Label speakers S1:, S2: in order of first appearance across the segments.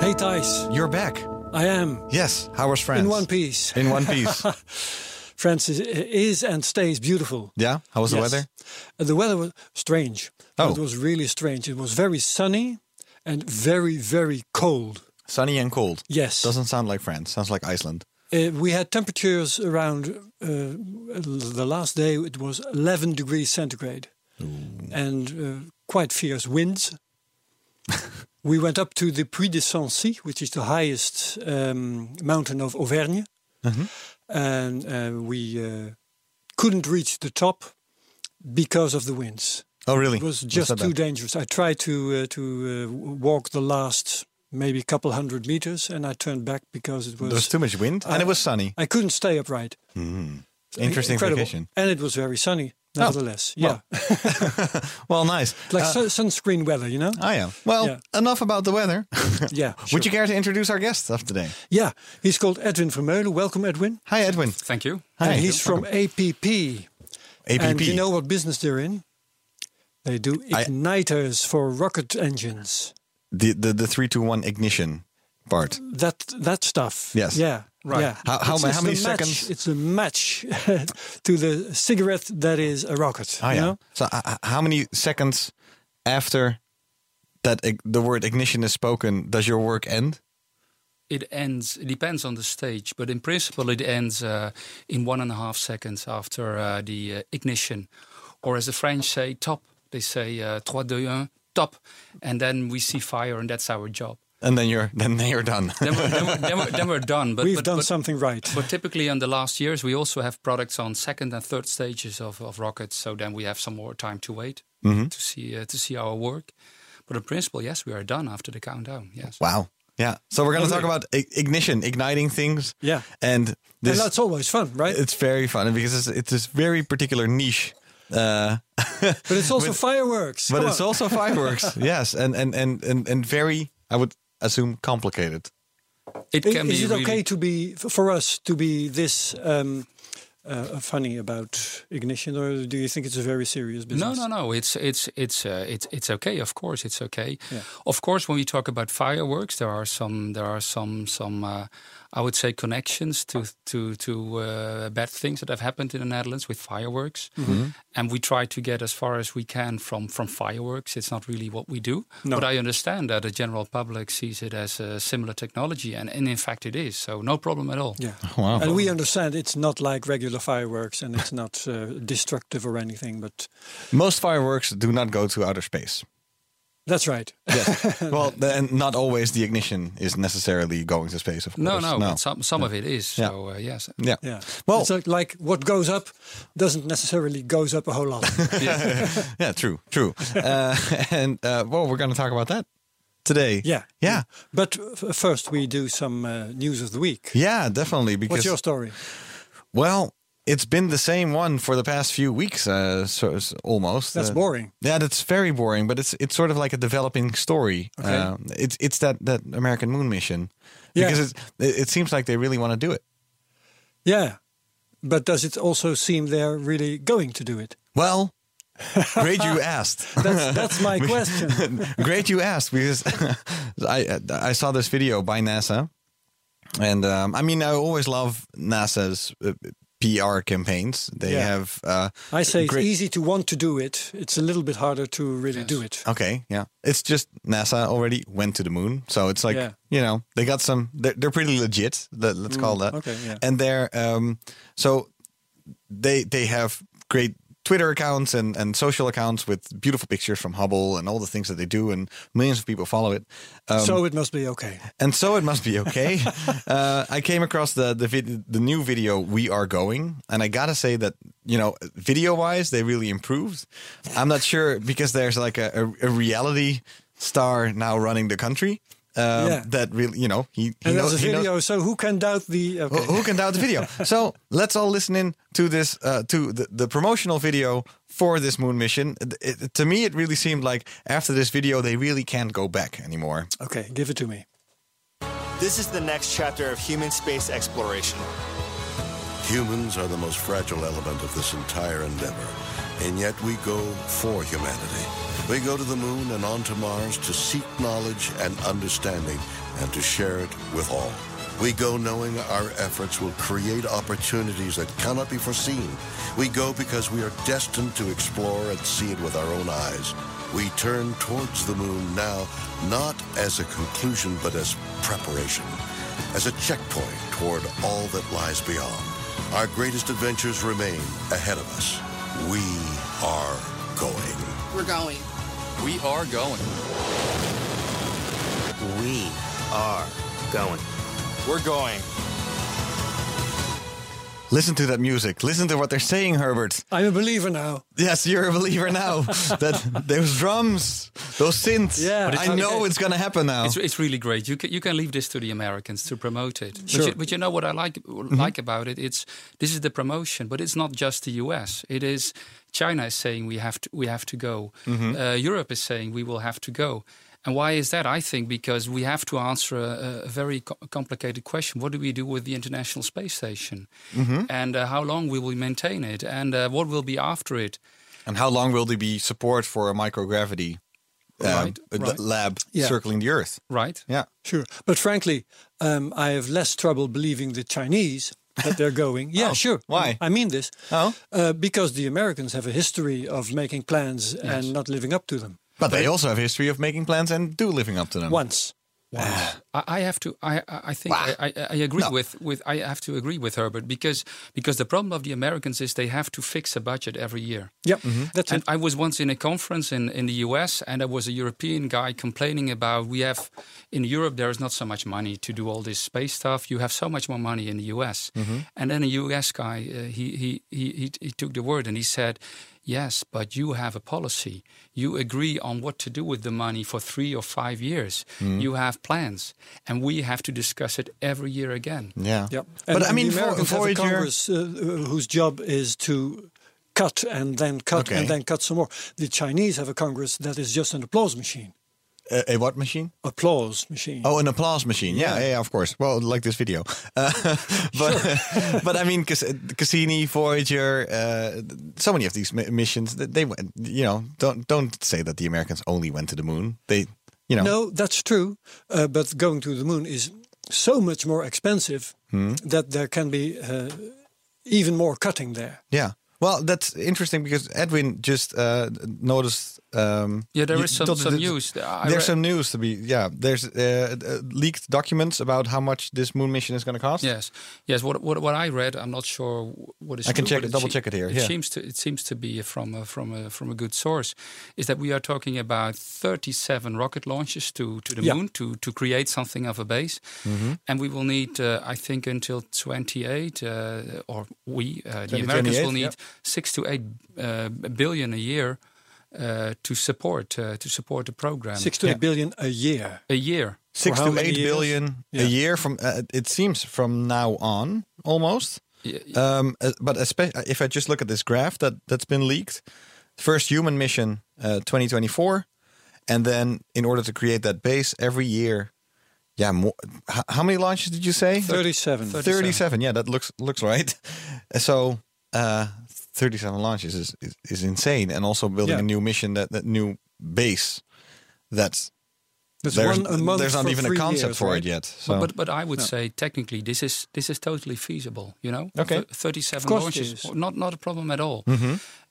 S1: Hey Thijs,
S2: you're back.
S1: I am
S2: Yes, how was France?
S1: in one piece.
S2: In one piece.
S1: France is, is and stays beautiful.
S2: yeah, how was the
S1: Yes.
S2: weather?
S1: And the weather was strange.
S2: Oh.
S1: It was really strange. It was very sunny and very, very cold.
S2: Sunny and cold.
S1: Yes.
S2: Doesn't sound like France. Sounds like Iceland.
S1: Uh, we had temperatures around uh, the last day, it was 11 degrees centigrade and uh, quite fierce winds. we went up to the Puy de Sancy, which is the highest um, mountain of Auvergne,
S2: Mm-hmm.
S1: and uh, we uh, couldn't reach the top because of the winds.
S2: Oh, really?
S1: It was
S2: Was
S1: just
S2: that
S1: too
S2: bad?
S1: dangerous. I tried to uh, to uh, walk the last maybe couple hundred meters, and I turned back because it was
S2: There was too much wind and it was sunny.
S1: I couldn't stay upright.
S2: Interesting
S1: Uh, Incredible.
S2: vacation.
S1: And it was very sunny, nevertheless.
S2: Oh, well.
S1: Yeah.
S2: Well, nice.
S1: like
S2: Uh,
S1: sun- sunscreen weather, you know?
S2: I am. Well,
S1: Yeah.
S2: enough about the weather.
S1: yeah.
S2: Would you care to introduce our guest of today?
S1: Yeah. He's called Edwin Vermeulen. Welcome, Edwin.
S2: Hi, Edwin.
S3: Thank you.
S2: Hi.
S1: And he's from APP.
S2: APP.
S1: And you know what business they're in? They do
S2: I-
S1: igniters for rocket engines.
S2: the, the, the 321 ignition part.
S1: That that stuff.
S2: Yes.
S1: Yeah.
S3: Right.
S1: Yeah.
S2: How- how
S1: It's-
S2: ma-
S1: it's
S2: how many
S1: the match-
S2: seconds-
S1: It's a match to the cigarette that is a rocket.
S2: Oh,
S1: you
S2: yeah.
S1: know?
S2: So, uh, uh, how many seconds after that ig- the word ignition is spoken does your work end?
S3: It ends. It depends on the stage, but in principle, it ends uh, in one and a half seconds after uh, the uh, ignition, or as the French say, top. They say uh, trois, deux, un, top, and then we see fire, and that's our job.
S2: And then you're then you're done.
S3: Then we're, then we're, then we're, then we're done. But
S1: We've
S3: but-
S1: done
S3: but-
S1: something right.
S3: But typically, in the last years, we also have products on second and third stages of, of rockets. So then we have some more time to wait
S1: Mm-hmm.
S3: to see uh, to see our work. But in principle, yes, we are done after the countdown. Yes.
S2: Wow. Yeah. So we're going to talk about i- ignition, igniting things.
S1: Yeah.
S2: And this
S1: and that's always fun, right?
S2: it's very fun because it's, it's this very particular niche. Uh,
S1: but it's also fireworks.
S2: but
S1: Come
S2: it's
S1: on.
S2: also fireworks. yes. And, and and and and very I would assume complicated.
S3: It
S1: I-
S3: can
S1: is
S3: be
S1: it
S3: really-
S1: okay to be f- for us to be this um, uh, funny about ignition, or do you think it's a very serious business?
S3: No, no, no. It's it's it's uh, it's it's okay. Of course, it's okay. Of course, when we talk about fireworks, there are some there are some some uh, I would say connections to to to uh, bad things that have happened in the Netherlands with fireworks,
S1: Mm-hmm.
S2: Mm-hmm.
S3: and we try to get as far as we can from from fireworks. It's not really what we do, but I understand that the general public sees it as a similar technology, and, and in fact, it is. So no problem at all.
S1: Yeah.
S2: Wow.
S1: And we understand it's not like regular fireworks, and it's not uh, destructive or anything. But
S2: Most fireworks do not go to outer space.
S1: that's right.
S2: Yes. well, the- and not always the ignition is necessarily going to space, of course.
S3: No, no, but some some of it is.
S2: Yeah.
S3: So uh, yes.
S2: yeah.
S1: Yeah.
S2: Well,
S1: it's like, like what goes up doesn't necessarily goes up a whole lot.
S2: yeah, true, true. uh, and uh, well, we're going to talk about that today.
S1: yeah.
S2: Yeah.
S1: But f- first, we do some uh, news of the week.
S2: Yeah, definitely. Because
S1: What's your story?
S2: Well, it's been the same one for the past few weeks, uh, so, so almost.
S1: That's
S2: Uh,
S1: boring.
S2: Yeah, that's very boring. But it's it's sort of like a developing story.
S1: Okay.
S2: Uh, it's it's that that American Moon mission
S1: Yeah.
S2: because it's, it, it seems like they really want to do it.
S1: Yeah. But does it also seem they're really going to do it?
S2: Well, great you asked.
S1: That's, that's my question.
S2: great you asked because I I saw this video by NASA, and um, I mean I always love NASA's. Uh, PR campaigns. They
S1: Yeah.
S2: have. Uh,
S1: I say
S2: great-
S1: it's easy to want to do it. It's a little bit harder to really do it.
S2: Okay, yeah. It's just NASA already went to the moon, so it's like
S1: Yeah.
S2: you know they got some. They're, they're pretty legit. Let, us call that.
S1: Mm, okay, yeah.
S2: And they're um, so they they have great Twitter accounts and and social accounts with beautiful pictures from Hubble and all the things that they do, and millions of people follow it. Um,
S1: so it must be okay.
S2: and so it must be okay. uh, I came across the the, vid- the new video "We Are Going," and I gotta say that you know, video wise, they really improved. I'm not sure because there's like a, a, a reality star now running the country. um,
S1: Yeah.
S2: that really, you know, he, he
S1: And
S2: knows
S1: there's a
S2: he knows- Oh,
S1: video, so who can doubt the? Okay.
S2: Who, who can doubt the video? so let's all listen in to this, uh, to the, the promotional video for this moon mission. It- it- to me, it really seemed like after this video, they really can't go back anymore.
S1: Okay, give it to me.
S4: This is the next chapter of human space exploration.
S5: Humans are the most fragile element of this entire endeavor, and yet we go for humanity. We go to the moon and on to Mars to seek knowledge and understanding and to share it with all. We go knowing our efforts will create opportunities that cannot be foreseen. We go because we are destined to explore and see it with our own eyes. We turn towards the moon now, not as a conclusion, but as preparation as a checkpoint toward all that lies beyond. Our greatest adventures remain ahead of us. We are going.
S6: We're going.
S3: We are going.
S4: We are going. We're going.
S2: Listen to that music. Listen to what they're saying, Herbert.
S1: I'm a believer now.
S2: Yes, you're a believer now. that those drums, those synths.
S1: Yeah. But
S2: I
S1: it's-
S2: know it's gonna happen now.
S3: It's, it's really great. You can, you can leave this to the Americans to promote it. But,
S2: Sure.
S3: you, but you know what I like like about it? It's this is the promotion, but it's not just the U.S. It is China is saying we have to we have to go. Uh, Europe is saying we will have to go. And why is that? I think because we have to answer a, a very co- complicated question. What do we do with the International Space Station? And uh, how long will we maintain it? And uh, what will be after it?
S2: and how long will there be support for a microgravity um,
S3: Right,
S2: uh,
S3: right.
S2: lab
S1: Yeah.
S2: circling the Earth?
S3: Right?
S2: Yeah.
S1: Sure, but frankly, um, I have less trouble believing the Chinese that they're going. Yeah,
S2: Oh,
S1: sure.
S2: why?
S1: I mean this.
S2: Oh.
S1: Uh, because the Americans have a history of making plans and not living up to them.
S2: But they also have a history of making plans and do living up to them.
S1: Once.
S3: I, I have to. I I I think I, I, I agree with with. I have to agree with Herbert because because the problem of the Americans is they have to fix a budget every year.
S1: Yep.
S2: Mm-hmm.
S1: That's
S3: And
S1: it.
S3: I was once in a conference in, in the US, and there was a European guy complaining about we have in Europe there is not so much money to do all this space stuff. You have so much more money in the US.
S1: Mm-hmm.
S3: And then a US guy uh, he, he he he he took the word and he said. Yes, but you have a policy. You agree on what to do with the money for three or five years.
S1: Mm-hmm.
S3: You have plans, and we have to discuss it every year again.
S2: Yeah.
S1: Yep.
S2: But
S1: And
S2: I mean,
S1: the
S2: Vo-
S1: Americans have a
S2: Voyager.
S1: Congress uh, whose job is to cut and then cut
S2: Okay.
S1: and then cut some more. The Chinese have a Congress that is just an applause machine.
S2: A, a what machine?
S1: Applause machine.
S2: Oh, an applause machine. Yeah, yeah, of course. Well, like this video. Uh, but but I mean, Cas- Cassini, Voyager, uh, so many of these mi- missions. th- They went. You know, don't don't say that the Americans only went to the moon. They, you know,
S1: No, that's true. Uh, but going to the moon is so much more expensive
S2: Hmm.
S1: that there can be uh, even more cutting there.
S2: yeah. Well, that's interesting because Edwin just uh, noticed. Um,
S3: Yeah, there
S2: you-
S3: is some-
S2: tot-
S3: some
S2: th-
S3: news. I
S2: there's
S3: read-
S2: some news to be. Yeah, there's uh, uh, leaked documents about how much this moon mission is going to cost.
S3: Yes, yes. What what, what I read, I'm not sure what is.
S2: I can
S3: true,
S2: check
S3: but
S2: it- double
S3: se-
S2: check it here,
S3: It
S2: yeah.
S3: seems to it seems to be from a, from a from a good source, is that we are talking about 37 rocket launches to to the
S1: Yeah.
S3: moon to to create something of a base,
S2: Mm-hmm.
S3: and we will need, uh, I think, until 28, uh, or we uh, the Americans
S2: 2028,
S3: will need
S2: yeah.
S3: six to eight uh, billion a year. Uh, to support uh, to support the program
S1: Six to eight billion a year.
S3: a year
S2: six
S1: For how
S2: to
S1: many
S2: eight
S1: years?
S2: billion a
S1: Yeah.
S2: year from uh, it seems from now on almost um uh, but espe- if i just look at this graph that that's been leaked first human mission uh, 2024 and then in order to create that base every year yeah more, h- how many launches did you say
S1: 37.
S2: 37 yeah that looks looks right so uh 37 launches is is, is insane and also building
S1: Yeah.
S2: a new mission that that new base that's
S1: That's
S2: there's,
S1: one a month
S2: there's not
S1: for
S2: even a
S1: three
S2: concept
S1: years,
S2: for
S1: right?
S2: it yet. So
S3: But, but I would say technically this is this is totally feasible. You know,
S2: Okay.
S3: Thir- thirty-seven
S1: Of course it
S3: launches,
S1: is.
S3: not not a problem at all.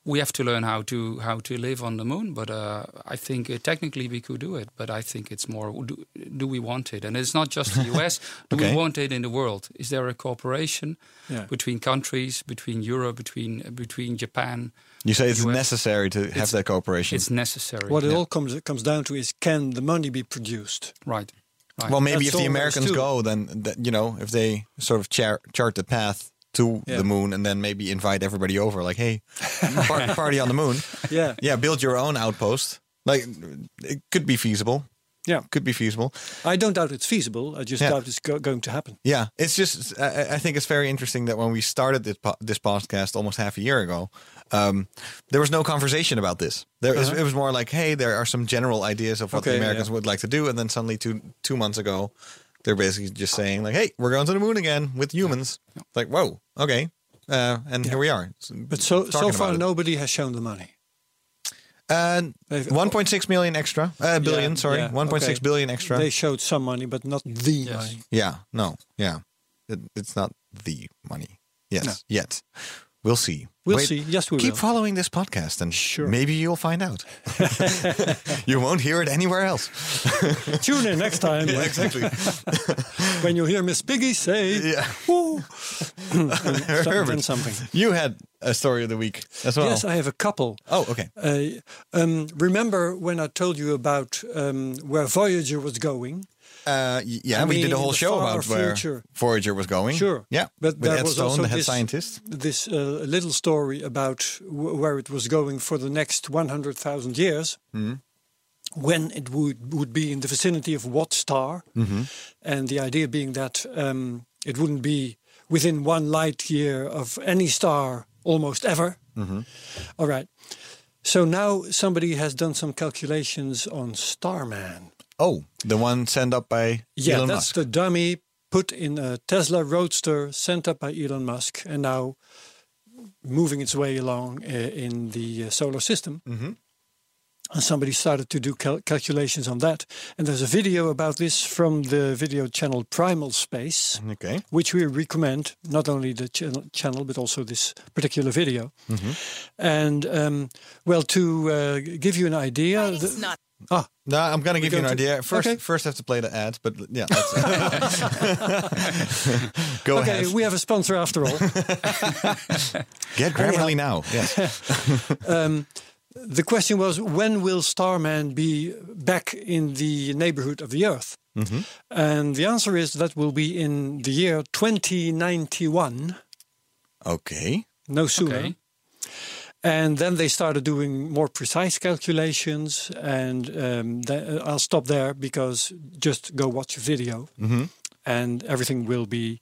S3: We have to learn how to how to live on the moon, but uh, I think uh, technically we could do it. But I think it's more do, do we want it? And it's not just the U.S. do
S2: Okay.
S3: we want it in the world? Is there a cooperation
S1: Yeah.
S3: between countries, between Europe, between between Japan?
S2: you say it's
S3: US?
S2: necessary to have that cooperation.
S3: It's necessary,
S1: What it all comes comes down to is can the money be produced?
S3: right? Right.
S2: well, maybe
S1: That's
S2: if the
S1: all there is
S2: Americans
S1: to it.
S2: go, then that, you know, if they sort of char- chart the path to
S1: Yeah.
S2: the moon, and then maybe invite everybody over, like, hey, par- party on the moon.
S1: Yeah.
S2: yeah, build your own outpost. Like, it could be feasible.
S1: Yeah.
S2: could be feasible.
S1: I don't doubt it's feasible. I just
S2: Yeah.
S1: doubt it's go- going to happen.
S2: Yeah, it's just I, I- I think it's very interesting that when we started this, po- this podcast almost half a year ago, um, there was no conversation about this. There is- it was more like, hey, there are some general ideas of what the
S1: Uh-huh. Okay,
S2: Americans
S1: yeah.
S2: would like to do, and then suddenly two two months ago, they're basically just saying like, hey, we're going to the moon again with humans. It's Like, whoa, okay, uh, and here we are.
S1: But so so
S2: Talking
S1: far,
S2: about it.
S1: nobody has shown the money.
S2: And
S1: They've-
S2: 1.6 million extra, uh, billion,
S1: oh. Yeah,
S2: sorry,
S1: yeah,
S2: 1.6 billion
S1: okay.
S2: extra.
S1: They showed some money, but not the money.
S2: Yeah, no, yeah. It, it's not the money. Yes,
S1: No.
S2: yet. We'll see.
S1: We'll see. Yes, we
S2: Keep
S1: will.
S2: following this podcast and
S1: Sure.
S2: maybe you'll find out. you won't hear it anywhere else.
S1: Tune in next time
S2: exactly.
S1: when you hear Miss Piggy say
S2: yeah.
S1: "Woo,"
S2: Herbert,
S1: something. something.
S2: You had a story of the week as well.
S1: Yes, I have a couple.
S2: oh, okay.
S1: Uh, um, remember when I told you about um, where Voyager was going?
S2: Uh, y- yeah,
S1: I
S2: we did
S1: mean,
S2: a whole
S1: the
S2: show
S1: far
S2: about where
S1: future.
S2: Voyager was going.
S1: Sure.
S2: Yeah.
S1: but
S2: with
S1: there
S2: Ed
S1: was
S2: Stone,
S1: also
S2: the head
S1: this,
S2: scientist.
S1: This uh, little story about wh- where it was going for the next 100,000 years.
S2: Hmm.
S1: When it would would be in the vicinity of what star,
S2: Mm-hmm.
S1: and the idea being that um, it wouldn't be within one light year of any star almost ever.
S2: Mm-hmm.
S1: All right. So now somebody has done some calculations on Starman.
S2: Oh, the one sent up by
S1: Yeah,
S2: Elon Musk.
S1: that's the dummy put in a Tesla Roadster sent up by Elon Musk and now moving its way along uh, in the uh, solar system.
S2: Mm-hmm.
S1: And somebody started to do cal- calculations on that. And there's a video about this from the video channel Primal Space,
S2: okay.
S1: which we recommend, not only the channel, channel but also this particular video.
S2: Mm-hmm.
S1: And, um, well, to uh, g- give you an idea. the- ah,
S2: No, I'm gonna give you an
S1: going to-
S2: idea. First,
S1: Okay.
S2: first have to play the ad, but yeah. That's Go
S1: okay,
S2: ahead.
S1: we have a sponsor after all.
S2: Get Grammarly now. Yes.
S1: the question was when will Starman be back in the neighborhood of the Earth? And the answer is that will be in the year 2091,
S2: Okay.
S1: no sooner.
S3: Okay.
S1: And then they started doing more precise calculations. And um, th- I'll stop there because just go watch a video and everything will be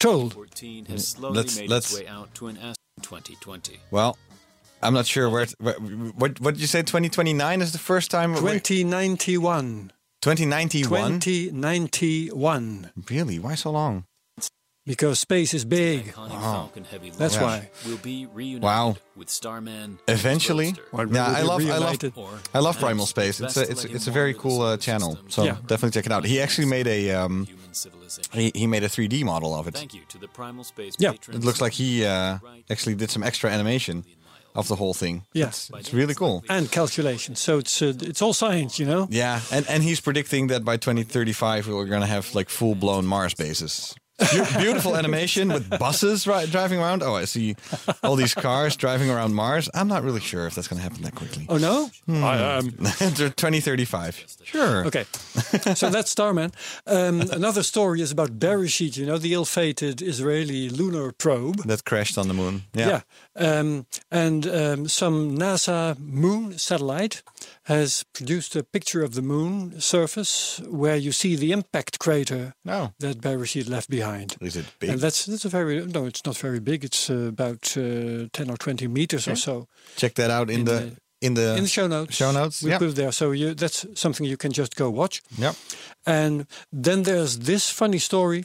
S1: told.
S6: 14 has slowly
S2: Let's-
S6: made
S2: let's-
S6: its way out to an S 2020.
S2: Well, I'm not sure where. It, where what What did you say? 2029 is the first time. wait,
S1: 2091.
S2: 2091.
S1: 2091.
S2: Really? Why so long?
S1: Because space is big.
S6: Iconic Falcon Heavy
S1: That's
S6: launch
S1: why.
S6: will be reunited
S2: Wow.
S6: with Starman.
S2: Eventually.
S1: Well,
S2: Yeah,
S1: we'll
S2: I love. I
S1: be
S2: love.
S1: reunited.
S6: Or
S2: I love
S6: perhaps
S2: Primal
S6: it's
S2: Space. It's
S6: best
S2: a
S6: to
S2: it's,
S6: let
S2: it's
S6: him
S2: a very
S6: wander the
S2: cool uh,
S6: solar
S2: channel.
S6: system
S2: So
S1: Yeah.
S2: definitely check it out. He actually made a um
S6: Human civilization.
S2: he, he made a 3D model of it.
S6: Thank you to the Primal Space
S1: Yeah.
S6: patrons.
S2: It looks like he uh, actually did some extra animation of the whole thing.
S1: Yes.
S2: It's really cool.
S1: and calculations. So it's uh, it's all science, you know.
S2: Yeah, and, and he's predicting that by 2035 we're going to have like full blown Mars bases. Beau- Beautiful animation with buses ri- driving around. Oh, I see all these cars driving around Mars. I'm not really sure if that's going to happen that quickly.
S1: Oh no.
S2: I am. 2035. Sure.
S1: Okay, so that's Starman. Um, another story is about Bereshit, you know, the ill-fated Israeli lunar probe.
S2: That crashed on the moon. Yeah.
S1: Um, and um, some NASA moon satellite has produced a picture of the moon surface where you see the impact crater
S2: No.
S1: that Bereshit left behind.
S2: Is it big?
S1: And that's that's a very no, it's not very big. It's uh, about uh, ten or twenty meters or so.
S2: Check that out in,
S1: In
S2: the,
S1: the-
S2: in the
S1: in the show notes.
S2: Show notes.
S1: We
S2: Yeah.
S1: put it there. So you, that's something you can just go watch.
S2: Yep.
S1: And then there's this funny story.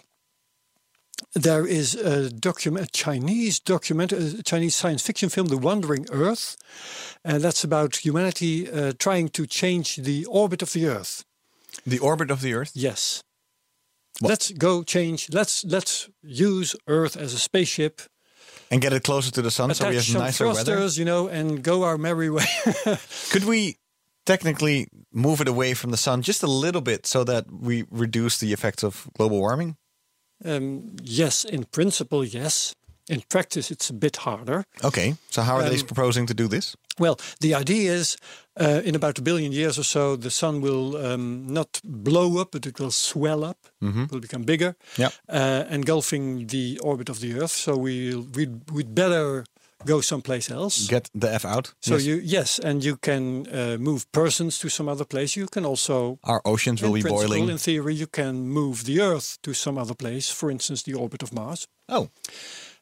S1: There is a document, a Chinese document, a Chinese science fiction film, The Wandering Earth, and that's about humanity uh, trying to change the orbit of the Earth.
S2: The orbit of the Earth.
S1: Yes,
S2: What?
S1: let's go change. Let's let's use Earth as a spaceship.
S2: And get it closer to the sun so we
S1: attach
S2: have
S1: some
S2: nicer weather.
S1: thrusters, you know, and go our merry way.
S2: Could we technically move it away from the sun just a little bit so that we reduce the effects of global warming?
S1: Um, yes, in principle, yes. In practice, it's a bit harder.
S2: Okay. So how are they
S1: Um,
S2: proposing to do this?
S1: Well, the idea is uh, in about a billion years or so, the sun will um, not blow up, but it will swell up, it will become bigger,
S2: Yeah.
S1: uh, engulfing the orbit of the Earth. So we'll, we'd, we'd better go someplace else.
S2: Get the F out.
S1: so
S2: Yes.
S1: you yes, and you can uh, move persons to some other place. You can also
S2: Our oceans will
S1: in
S2: be
S1: principle,
S2: boiling.
S1: In theory, you can move the Earth to some other place, for instance, the orbit of Mars.
S2: oh,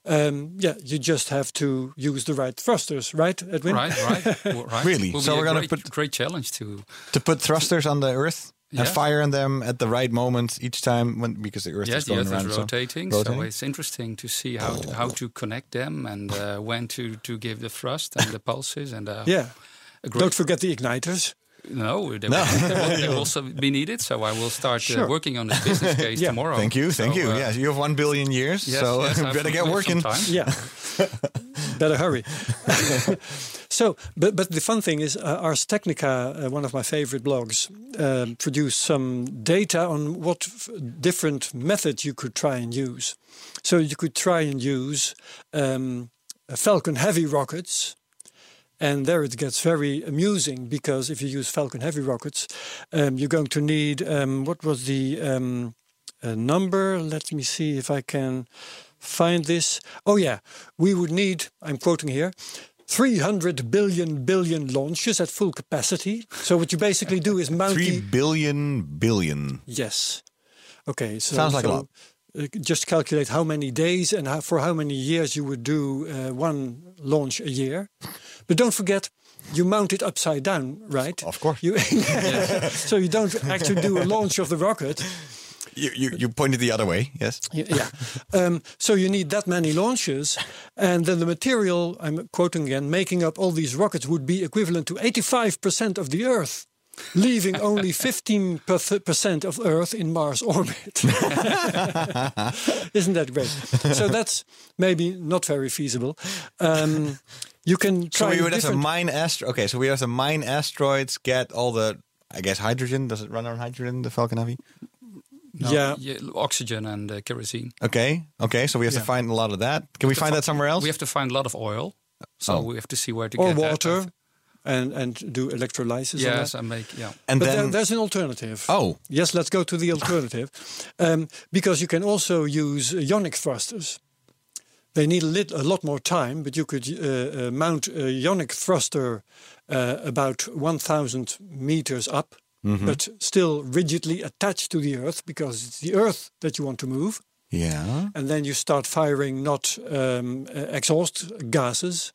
S1: Um, yeah, you just have to use the right thrusters, right, Edwin?
S3: Right, right, w- right.
S2: Really?
S3: Will
S2: So
S3: be a
S2: we're gonna
S3: great,
S2: put-
S3: great challenge to
S2: to put thrusters on the Earth and
S3: Yeah.
S2: fire in them at the right moment each time when because the Earth
S3: yes,
S2: is
S3: the
S2: going
S3: Earth
S2: around.
S3: is
S2: so- Oh.
S3: rotating, so it's interesting to see how to, how to connect them and uh, when to, to give the thrust and the pulses and uh,
S1: Yeah.
S3: a great-
S1: Don't forget the igniters.
S3: No, they, Will, they, will, they will also be needed. So I will start uh,
S1: Sure.
S3: working on this business case
S1: Yeah.
S3: tomorrow.
S2: Thank you, thank
S3: So,
S2: you.
S3: uh,
S2: yes, you have one billion years,
S3: yes,
S2: so
S3: yes, I've
S2: better get
S3: got
S2: working.
S3: some time.
S1: Yeah. Better hurry. so, but but the fun thing is, uh, Ars Technica, uh, one of my favorite blogs, um, produced some data on what f- different methods you could try and use. So you could try and use um, Falcon Heavy rockets. And there it gets very amusing because if you use Falcon Heavy rockets, um, you're going to need um, what was the um, uh, number? Let me see if I can find this. Oh, yeah, we would need, I'm quoting here, 300 billion billion launches at full capacity. So, what you basically do is mount
S2: Three
S1: the.
S2: billion billion.
S1: Yes. Okay. So,
S2: Sounds like a
S1: so,
S2: lot.
S1: uh, just calculate how many days and how, for how many years you would do uh, one launch a year. But don't forget, you mount it upside down, right?
S2: Of course.
S1: You, so you don't actually do a launch of the rocket.
S2: You, you you pointed the other way. Yes.
S1: Y- Yeah. um, so you need that many launches. And then the material, I'm quoting again, making up all these rockets would be equivalent to 85% of the Earth. Leaving only 15% of Earth in Mars orbit. Isn't that great? So that's maybe not very feasible. Um, you can
S2: So
S1: try.
S2: we would have to
S1: different-
S2: mine astro. Okay, so we have to mine asteroids, get all the. I guess hydrogen. Does it run on hydrogen? The Falcon Heavy.
S3: No,
S1: yeah.
S3: oxygen and uh, kerosene.
S2: Okay. Okay. So we have to find a lot of that. Can we find that somewhere else?
S3: We have to find a lot of oil, so
S2: Oh.
S3: we have to see where to
S1: Or
S3: get that.
S1: water and, and do electrolysis. on
S3: Yes,
S1: that.
S3: I make yeah.
S2: and
S1: but
S2: then
S1: there- there's an alternative.
S2: Oh.
S1: Yes, let's go to the alternative. um, because you can also use ionic thrusters. They need a, lit- a lot more time, but you could uh, uh, mount a ionic thruster uh, about 1,000 meters up,
S2: Mm-hmm.
S1: but still rigidly attached to the Earth because it's the Earth that you want to move.
S2: yeah.
S1: And then you start firing not um, uh, exhaust gases,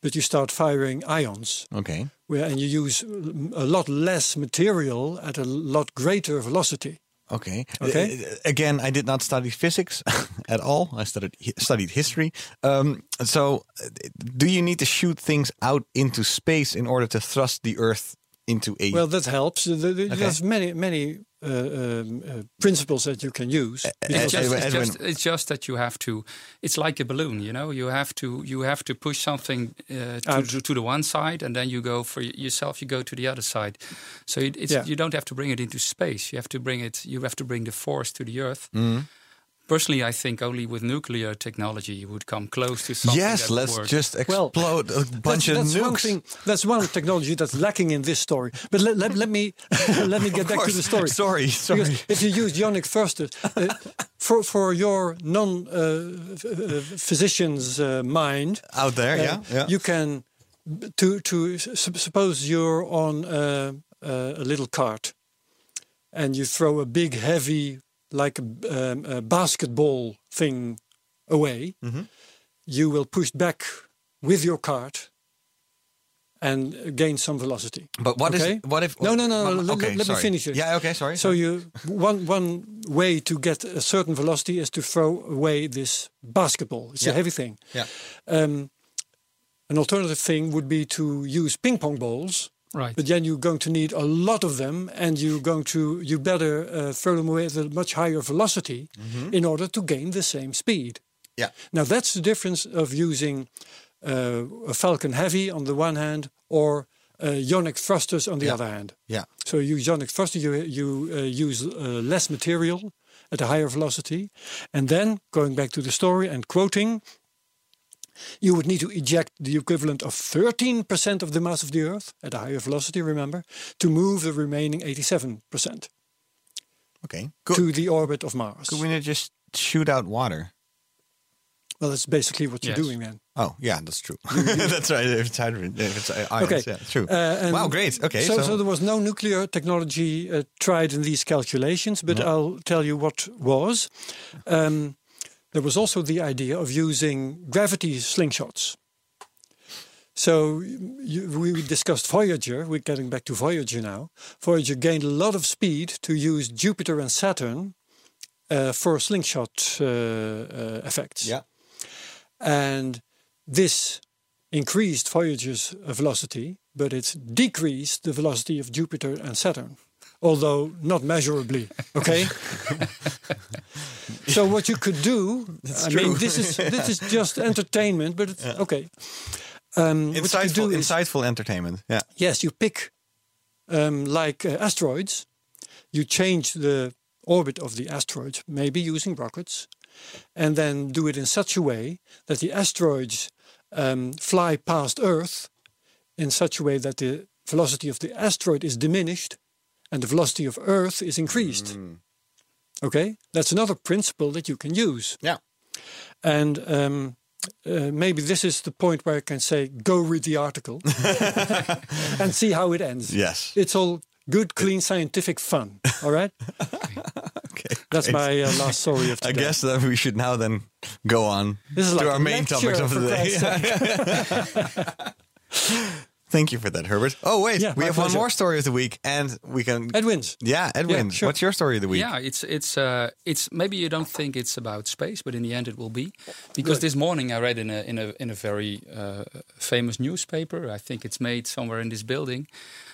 S1: but you start firing ions
S2: Okay.
S1: where and you use l- a lot less material at a lot greater velocity.
S2: Okay.
S1: Okay.
S2: Uh, again, I did not study physics at all. I studied hi- studied history. Um, so, uh, do you need to shoot things out into space in order to thrust the Earth into a?
S1: Well, that helps. The- the- There's many many uh, um, uh, principles that you can use.
S2: Ed-
S3: It's just,
S2: Edwin-
S3: it's,
S2: Edwin-
S3: just, it's just that you have to. It's like a balloon, you know. You have to you have to push something uh, to,
S2: Um,
S1: Out.
S3: to to the one side, and then you go for y- yourself. You go to the other side. So it, it's,
S1: Yeah.
S3: you don't have to bring it into space. You have to bring it. You have to bring the force to the Earth.
S2: Mm-hmm.
S3: Personally, I think only with nuclear technology you would come close to something.
S2: yes.
S3: that would
S2: Let's
S3: work.
S2: just explode a bunch of
S1: that's
S2: nukes.
S1: One thing, that's one technology that's lacking in this story. But let, let, let me let me get back to
S2: course.
S1: the story.
S2: Sorry, sorry.
S1: Because if you use ionic thrusters, uh, for for your non uh, f- uh, physician's uh, mind
S2: Out there,
S1: uh,
S2: yeah, yeah.
S1: you can b- to to su- suppose you're on a, a little cart, and you throw a big heavy like a, b- um, a basketball thing away
S2: Mm-hmm.
S1: you will push back with your cart and gain some velocity.
S2: But what is-
S1: okay?
S2: what if-
S1: No, no, no.
S2: Mama-
S1: no let-
S2: okay,
S1: let
S2: sorry.
S1: me finish it.
S2: Yeah, okay, sorry,
S1: So
S2: sorry.
S1: you one one way to get a certain velocity is to throw away this basketball. It's
S2: Yeah.
S1: a heavy thing.
S2: yeah.
S1: Um, an alternative thing would be to use ping pong balls.
S3: Right.
S1: But then you're going to need a lot of them, and you're going to you better uh, throw them away at a much higher velocity in order to gain the same speed.
S2: Mm-hmm. Yeah.
S1: Now that's the difference of using uh, a Falcon Heavy on the one hand or uh, ionic thrusters on the
S2: Yeah.
S1: other hand.
S2: Yeah.
S1: So you use ionic thruster, you you uh, use uh, less material at a higher velocity, and then going back to the story and quoting. You would need to eject the equivalent of 13% of the mass of the Earth at a higher velocity, remember, to move the remaining 87%
S2: Okay. Could,
S1: to the orbit of Mars.
S2: could we not just shoot out water?
S1: Well, that's basically what you're
S3: Yes.
S1: doing then.
S2: Oh, yeah, that's true. that's right. If it's hydrogen, if it's uh, ions,
S1: Okay.
S2: yeah, true.
S1: Uh, and
S2: wow, great. Okay,
S1: So,
S2: so,
S1: so, there was no nuclear technology uh, tried in these calculations, but I'll tell you what was. Um, there was also the idea of using gravity slingshots. So you, we discussed Voyager. We're getting back to Voyager now. Voyager gained a lot of speed to use Jupiter and Saturn uh, for slingshot uh, uh, effects.
S2: yeah,
S1: And this increased Voyager's uh, velocity, but it's decreased the velocity of Jupiter and Saturn, although not measurably. Okay. so what you could do, I mean,
S2: true.
S1: this is this is just entertainment, but it's, okay. Um, what you could
S2: insightful,
S1: do is-
S2: insightful entertainment. Yeah,
S1: yes, you pick um, like uh, asteroids, you change the orbit of the asteroid, maybe using rockets, and then do it in such a way that the asteroids um, fly past Earth in such a way that the velocity of the asteroid is diminished and the velocity of Earth is increased. Okay, that's another principle that you can use.
S2: yeah.
S1: And um, uh, maybe this is the point where I can say, go read the article and see how it ends.
S2: Yes.
S1: It's all good, clean, scientific fun. All right?
S2: Okay,
S1: That's
S2: great.
S1: my uh, last story of today.
S2: I guess that we should now then go on
S1: This is
S2: to
S1: like
S2: our
S1: a
S2: main
S1: lecture,
S2: topics of
S1: for
S2: the day.
S1: Christ's sake.
S2: Thank you for that, Herbert. Oh wait,
S1: Yeah,
S2: we
S1: my
S2: have one
S1: pleasure.
S2: more story of the week, and we can.
S1: Edwin's.
S2: Yeah, Edwin,
S1: sure.
S2: what's your story of the week?
S3: Yeah, it's it's uh, it's maybe you don't think it's about space, but in the end it will be, because this morning I read in a in a in a very uh, famous newspaper. I think it's made somewhere in this building.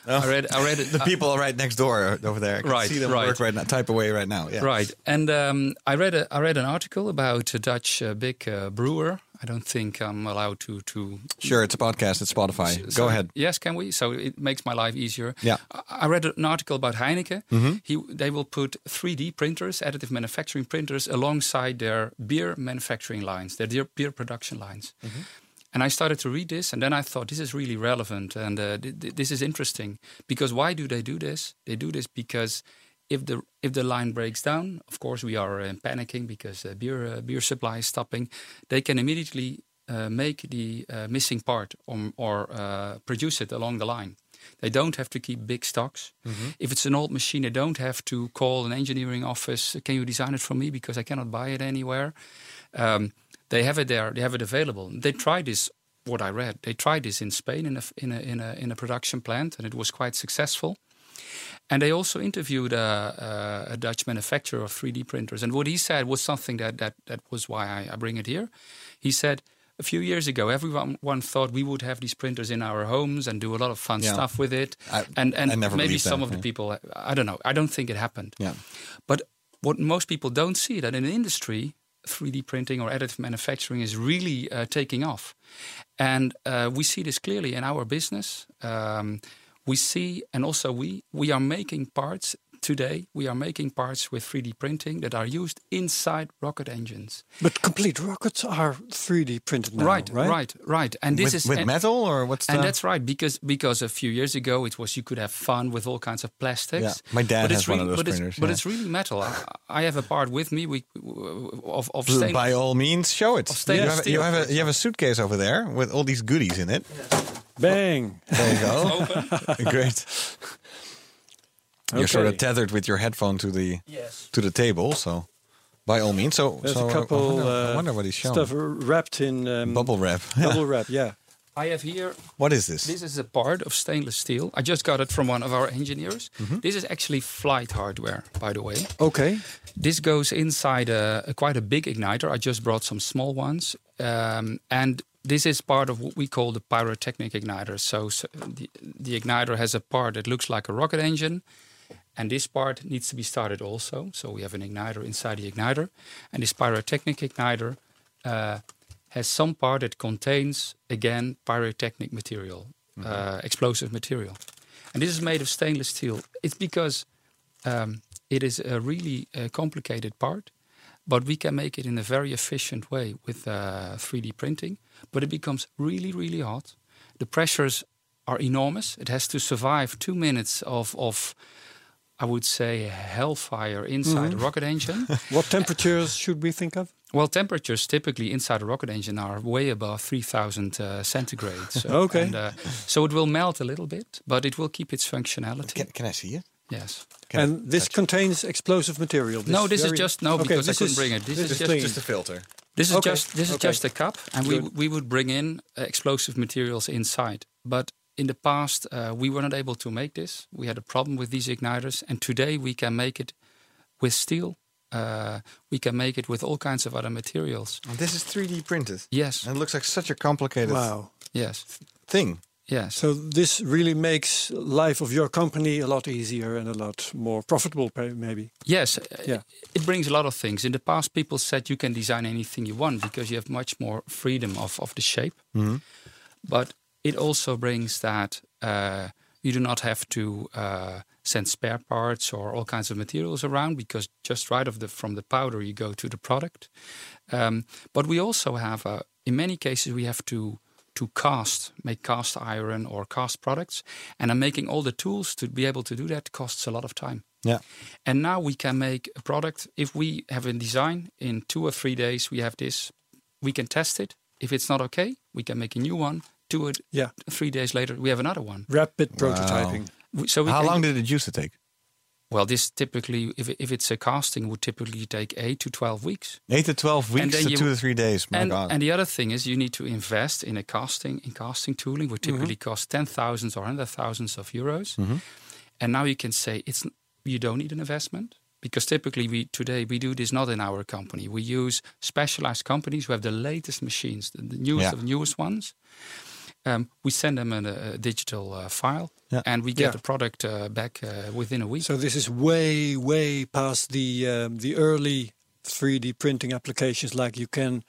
S3: I read I read it.
S2: Oh.
S3: uh,
S2: The
S3: I-
S2: people right next door over there. I can
S3: Right,
S2: see them
S3: right.
S2: work right now, type away right now. Yeah.
S3: Right, and um, I read a, I read an article about a Dutch uh, big uh, brewer. I don't think I'm allowed to to
S2: Sure, it's a podcast. It's Spotify.
S3: So-
S2: Go ahead.
S3: Yes, can we? So it makes my life easier.
S2: Yeah. Mm-hmm.
S3: I, I read an article about Heineken. He, they will put 3D printers, additive manufacturing printers, alongside their beer manufacturing lines, their dear- beer production lines.
S2: Mm-hmm.
S3: And I started to read this, and then I thought this is really relevant and uh, th- th- this is interesting because why do they do this? They do this because if the if the line breaks down, of course we are uh, panicking because uh, beer uh, beer supply is stopping. They can immediately uh, make the uh, missing part or, or uh, produce it along the line. They don't have to keep big stocks. If it's an old machine, they don't have to call an engineering office. Can you design it for me because I cannot buy it anywhere? Um, they have it there. They have it available. They tried this. What I read, they tried this in Spain in a in a in a, in a production plant, and it was quite successful. And they also interviewed a, a, a Dutch manufacturer of 3D printers. And what he said was something that, that, that was why I, I bring it here. He said, a few years ago, everyone one thought we would have these printers in our homes and do a lot of fun
S2: Yeah.
S3: stuff with it.
S2: I-
S3: and and
S2: I never
S3: maybe
S2: believed
S3: some
S2: that,
S3: of the
S2: yeah.
S3: people, I don't know. I don't think it happened.
S2: Yeah.
S3: But what most people don't see that in the industry, 3D printing or additive manufacturing is really uh, taking off, and uh, we see this clearly in our business. Um, we see, and also we we are making parts today. We are making parts with 3D printing that are used inside rocket engines.
S1: But complete rockets are 3D printed now,
S3: right,
S1: right?
S3: right, right, And this
S2: with
S3: is
S2: with
S3: and-
S2: metal or what's
S3: and
S2: the-
S3: that's right because because a few years ago it was you could have fun with all kinds of plastics.
S2: Yeah, my dad
S3: but it's
S2: has one of
S3: really-
S2: those
S3: but it's-
S2: printers,
S3: But
S2: yeah.
S3: it's really metal. I, I have a part with me. We of of stainless.
S2: By all means, show it. You
S3: stainless
S2: have, a- you
S3: steel.
S2: have a you have a suitcase over there with all these goodies in it.
S1: Bang.
S2: There you go. Great. You're sort of
S1: Okay.
S2: tethered with your headphone to the
S3: Yes.
S2: to the table, so by all means. So
S1: There's
S2: so
S1: a
S2: I- I
S1: couple
S2: wonder, I
S1: uh,
S2: wonder what he's showing.
S1: stuff wrapped in um,
S2: Bubble wrap.
S1: bubble wrap. Yeah.
S3: I have here.
S2: what is this?
S3: This is a part of stainless steel. I just got it from one of our engineers.
S2: Mm-hmm.
S3: This is actually flight hardware, by the way.
S1: Okay.
S3: This goes inside a, a quite a big igniter. I just brought some small ones, um, and this is part of what we call the pyrotechnic igniter. So, so the, the igniter has a part that looks like a rocket engine, and this part needs to be started also. So we have an igniter inside the igniter, and this pyrotechnic igniter uh, has some part that contains again pyrotechnic material, uh, explosive material, and this is made of stainless steel. It's because um, it is a really uh, complicated part, but we can make it in a very efficient way with uh, 3D printing. But it becomes really, really hot. The pressures are enormous. It has to survive two minutes of, of I would say, hellfire inside a rocket engine.
S1: What temperatures should we think of?
S3: Well, temperatures typically inside a rocket engine are way above 3000 uh, centigrade. So,
S1: Okay.
S3: and, uh, so it will melt a little bit, but it will keep its functionality.
S2: Can, can I see it?
S3: Yes.
S2: Can I
S1: and this
S2: touch it?
S1: contains explosive material.
S3: No, this is
S1: very-
S3: just- no, because I
S1: this
S3: couldn't
S1: is-
S3: bring it. This is just-
S1: clean.
S2: just a filter.
S3: This is
S1: Okay,
S3: just this is
S1: okay.
S3: just a cup, and we
S1: Good.
S3: we would bring in uh, explosive materials inside. But in the past, uh, we were not able to make this. We had a problem with these igniters, and today we can make it with steel. Uh, we can make it with all kinds of other materials.
S2: And this is 3D printed.
S3: Yes.
S2: And it looks like such a complicated
S1: wow.
S3: Yes,
S2: thing.
S3: yes.
S1: So this really makes life of your company a lot easier and a lot more profitable, pa- maybe.
S3: Yes, uh,
S1: Yeah.
S3: it brings a lot of things. In the past, people said you can design anything you want because you have much more freedom of, of the shape. But it also brings that uh, you do not have to uh, send spare parts or all kinds of materials around because just right of the, from the powder you go to the product. Um, but we also have, uh in many cases, we have to to cast, make cast iron or cast products, and I'm making all the tools to be able to do that costs a lot of time.
S2: Yeah.
S3: And now we can make a product. If we have a design in two or three days, we have this, we can test it. If it's not okay, we can make a new one. Two or
S1: Yeah.
S3: three days later, we have another one.
S1: Rapid prototyping.
S3: We- So we
S2: How
S3: can-
S2: long did it used to take?
S3: Well, this typically, if, if it's a casting, would typically take eight to twelve weeks.
S2: Eight to twelve weeks
S3: then
S2: to
S3: you-
S2: two to three days. My
S3: and,
S2: God.
S3: and the other thing is, you need to invest in a casting in casting tooling, which typically
S2: Mm-hmm.
S3: costs ten thousands or hundred thousands of euros. And now you can say it's n- you don't need an investment because typically we today we do this not in our company. We use specialized companies who have the latest machines, the, the newest
S2: Yeah.
S3: of newest ones. Um, we send them a, a digital uh, file,
S2: Yeah.
S3: and we get
S1: Yeah.
S3: the product uh, back uh, within a week.
S1: So this is way, way past the um, the early 3D printing applications. Like you can,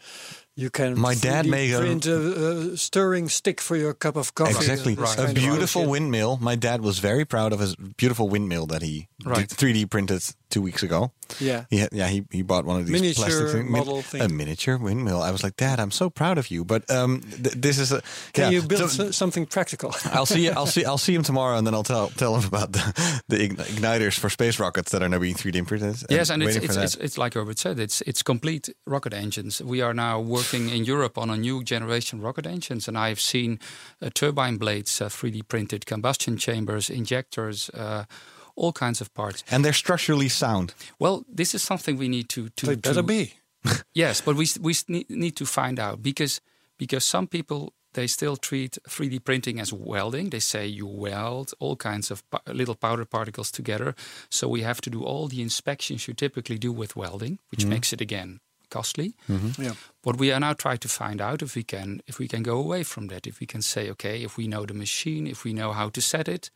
S1: you can.
S2: My dad
S1: 3D
S2: made a-
S1: print a, a stirring stick for your cup of coffee.
S2: Exactly.
S1: This
S3: Oh, Right.
S2: A
S1: kind of
S2: beautiful
S1: shit.
S2: windmill. My dad was very proud of his beautiful windmill that he
S3: Right.
S2: did 3D printed two weeks ago.
S1: Yeah.
S2: He had, yeah, he, he bought one of these plastic
S1: Miniature
S2: thing- min-
S1: model thing.
S2: A miniature windmill. I was like, Dad, I'm so proud of you. But um, th- this is a.
S1: Can
S2: yeah.
S1: you build
S2: So-
S1: so- something practical?
S2: I'll see. I'll see. I'll see him tomorrow, and then I'll tell tell him about the, the ign- igniters for space rockets that are now being 3D printed.
S3: Yes, and
S2: waiting
S3: it's, it's,
S2: for
S3: it's,
S2: that.
S3: it's like Robert said, it's it's complete rocket engines. We are now working in Europe on a new generation rocket engines, and I've seen uh, turbine blades, uh, 3D printed combustion chambers, injectors, uh, all kinds of parts.
S2: and they're structurally sound.
S3: Well, this is something we need to to
S1: They better
S3: to-
S1: be.
S3: Yes, but we s- we s- ne- need to find out because because some people they still treat 3D printing as welding. They say you weld all kinds of pa- little powder particles together. So we have to do all the inspections you typically do with welding, which makes it again costly.
S1: Yeah.
S3: But we are now trying to find out if we can if we can go away from that. If we can say, okay, if we know the machine, if we know how to set it,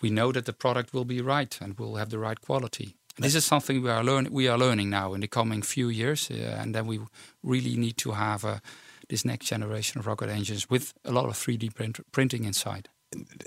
S3: we know that the product will be right and will have the right quality. And this is something we are learning. We are learning now in the coming few years, uh, and then we really need to have uh, this next generation of rocket engines with a lot of 3D print- printing inside.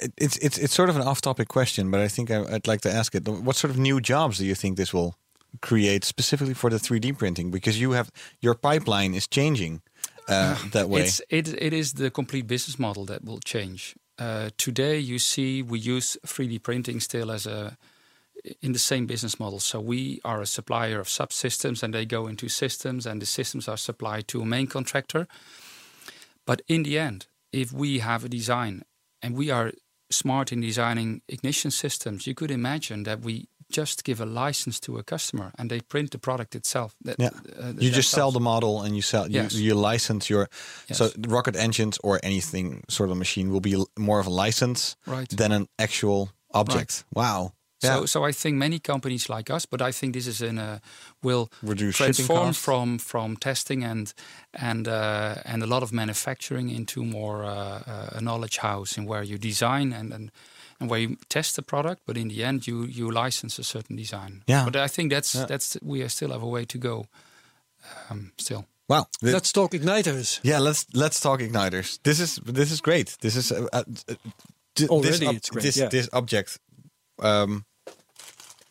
S2: It, it's it's it's sort of an off-topic question, but I think I, I'd like to ask it. What sort of new jobs do you think this will create specifically for the 3D printing? Because you have your pipeline is changing uh, that way.
S3: It's it, it is the complete business model that will change. Uh, today, you see, we use 3D printing still as a in the same business model. So we are a supplier of subsystems, and they go into systems, and the systems are supplied to a main contractor. But in the end, if we have a design and we are smart in designing ignition systems, you could imagine that we just give a license to a customer and they print the product itself. That-
S2: yeah,
S3: uh,
S2: you just sell
S3: themselves.
S2: the model and you sell
S3: Yes.
S2: you, you license your so
S3: Yes.
S2: the rocket engines or anything sort of machine will be l- more of a license
S3: Right.
S2: than an actual object. Wow. Yeah.
S3: So, so I think many companies like us, but I think this is in a will
S2: Reduce shipping
S3: transform
S2: costs.
S3: from from testing and and uh, and a lot of manufacturing into more uh, uh, a knowledge house, in where you design and, and and where you test the product, but in the end you you license a certain design.
S2: Yeah.
S3: But I think that's
S2: Yeah.
S3: that's we are still have a way to go. Um, still.
S2: wow. The-
S1: Let's talk igniters.
S2: yeah, let's let's talk igniters. This is this is great. This is uh, uh, d-
S1: Already
S2: this ob-
S1: it's great,
S2: This
S1: yeah.
S2: this object um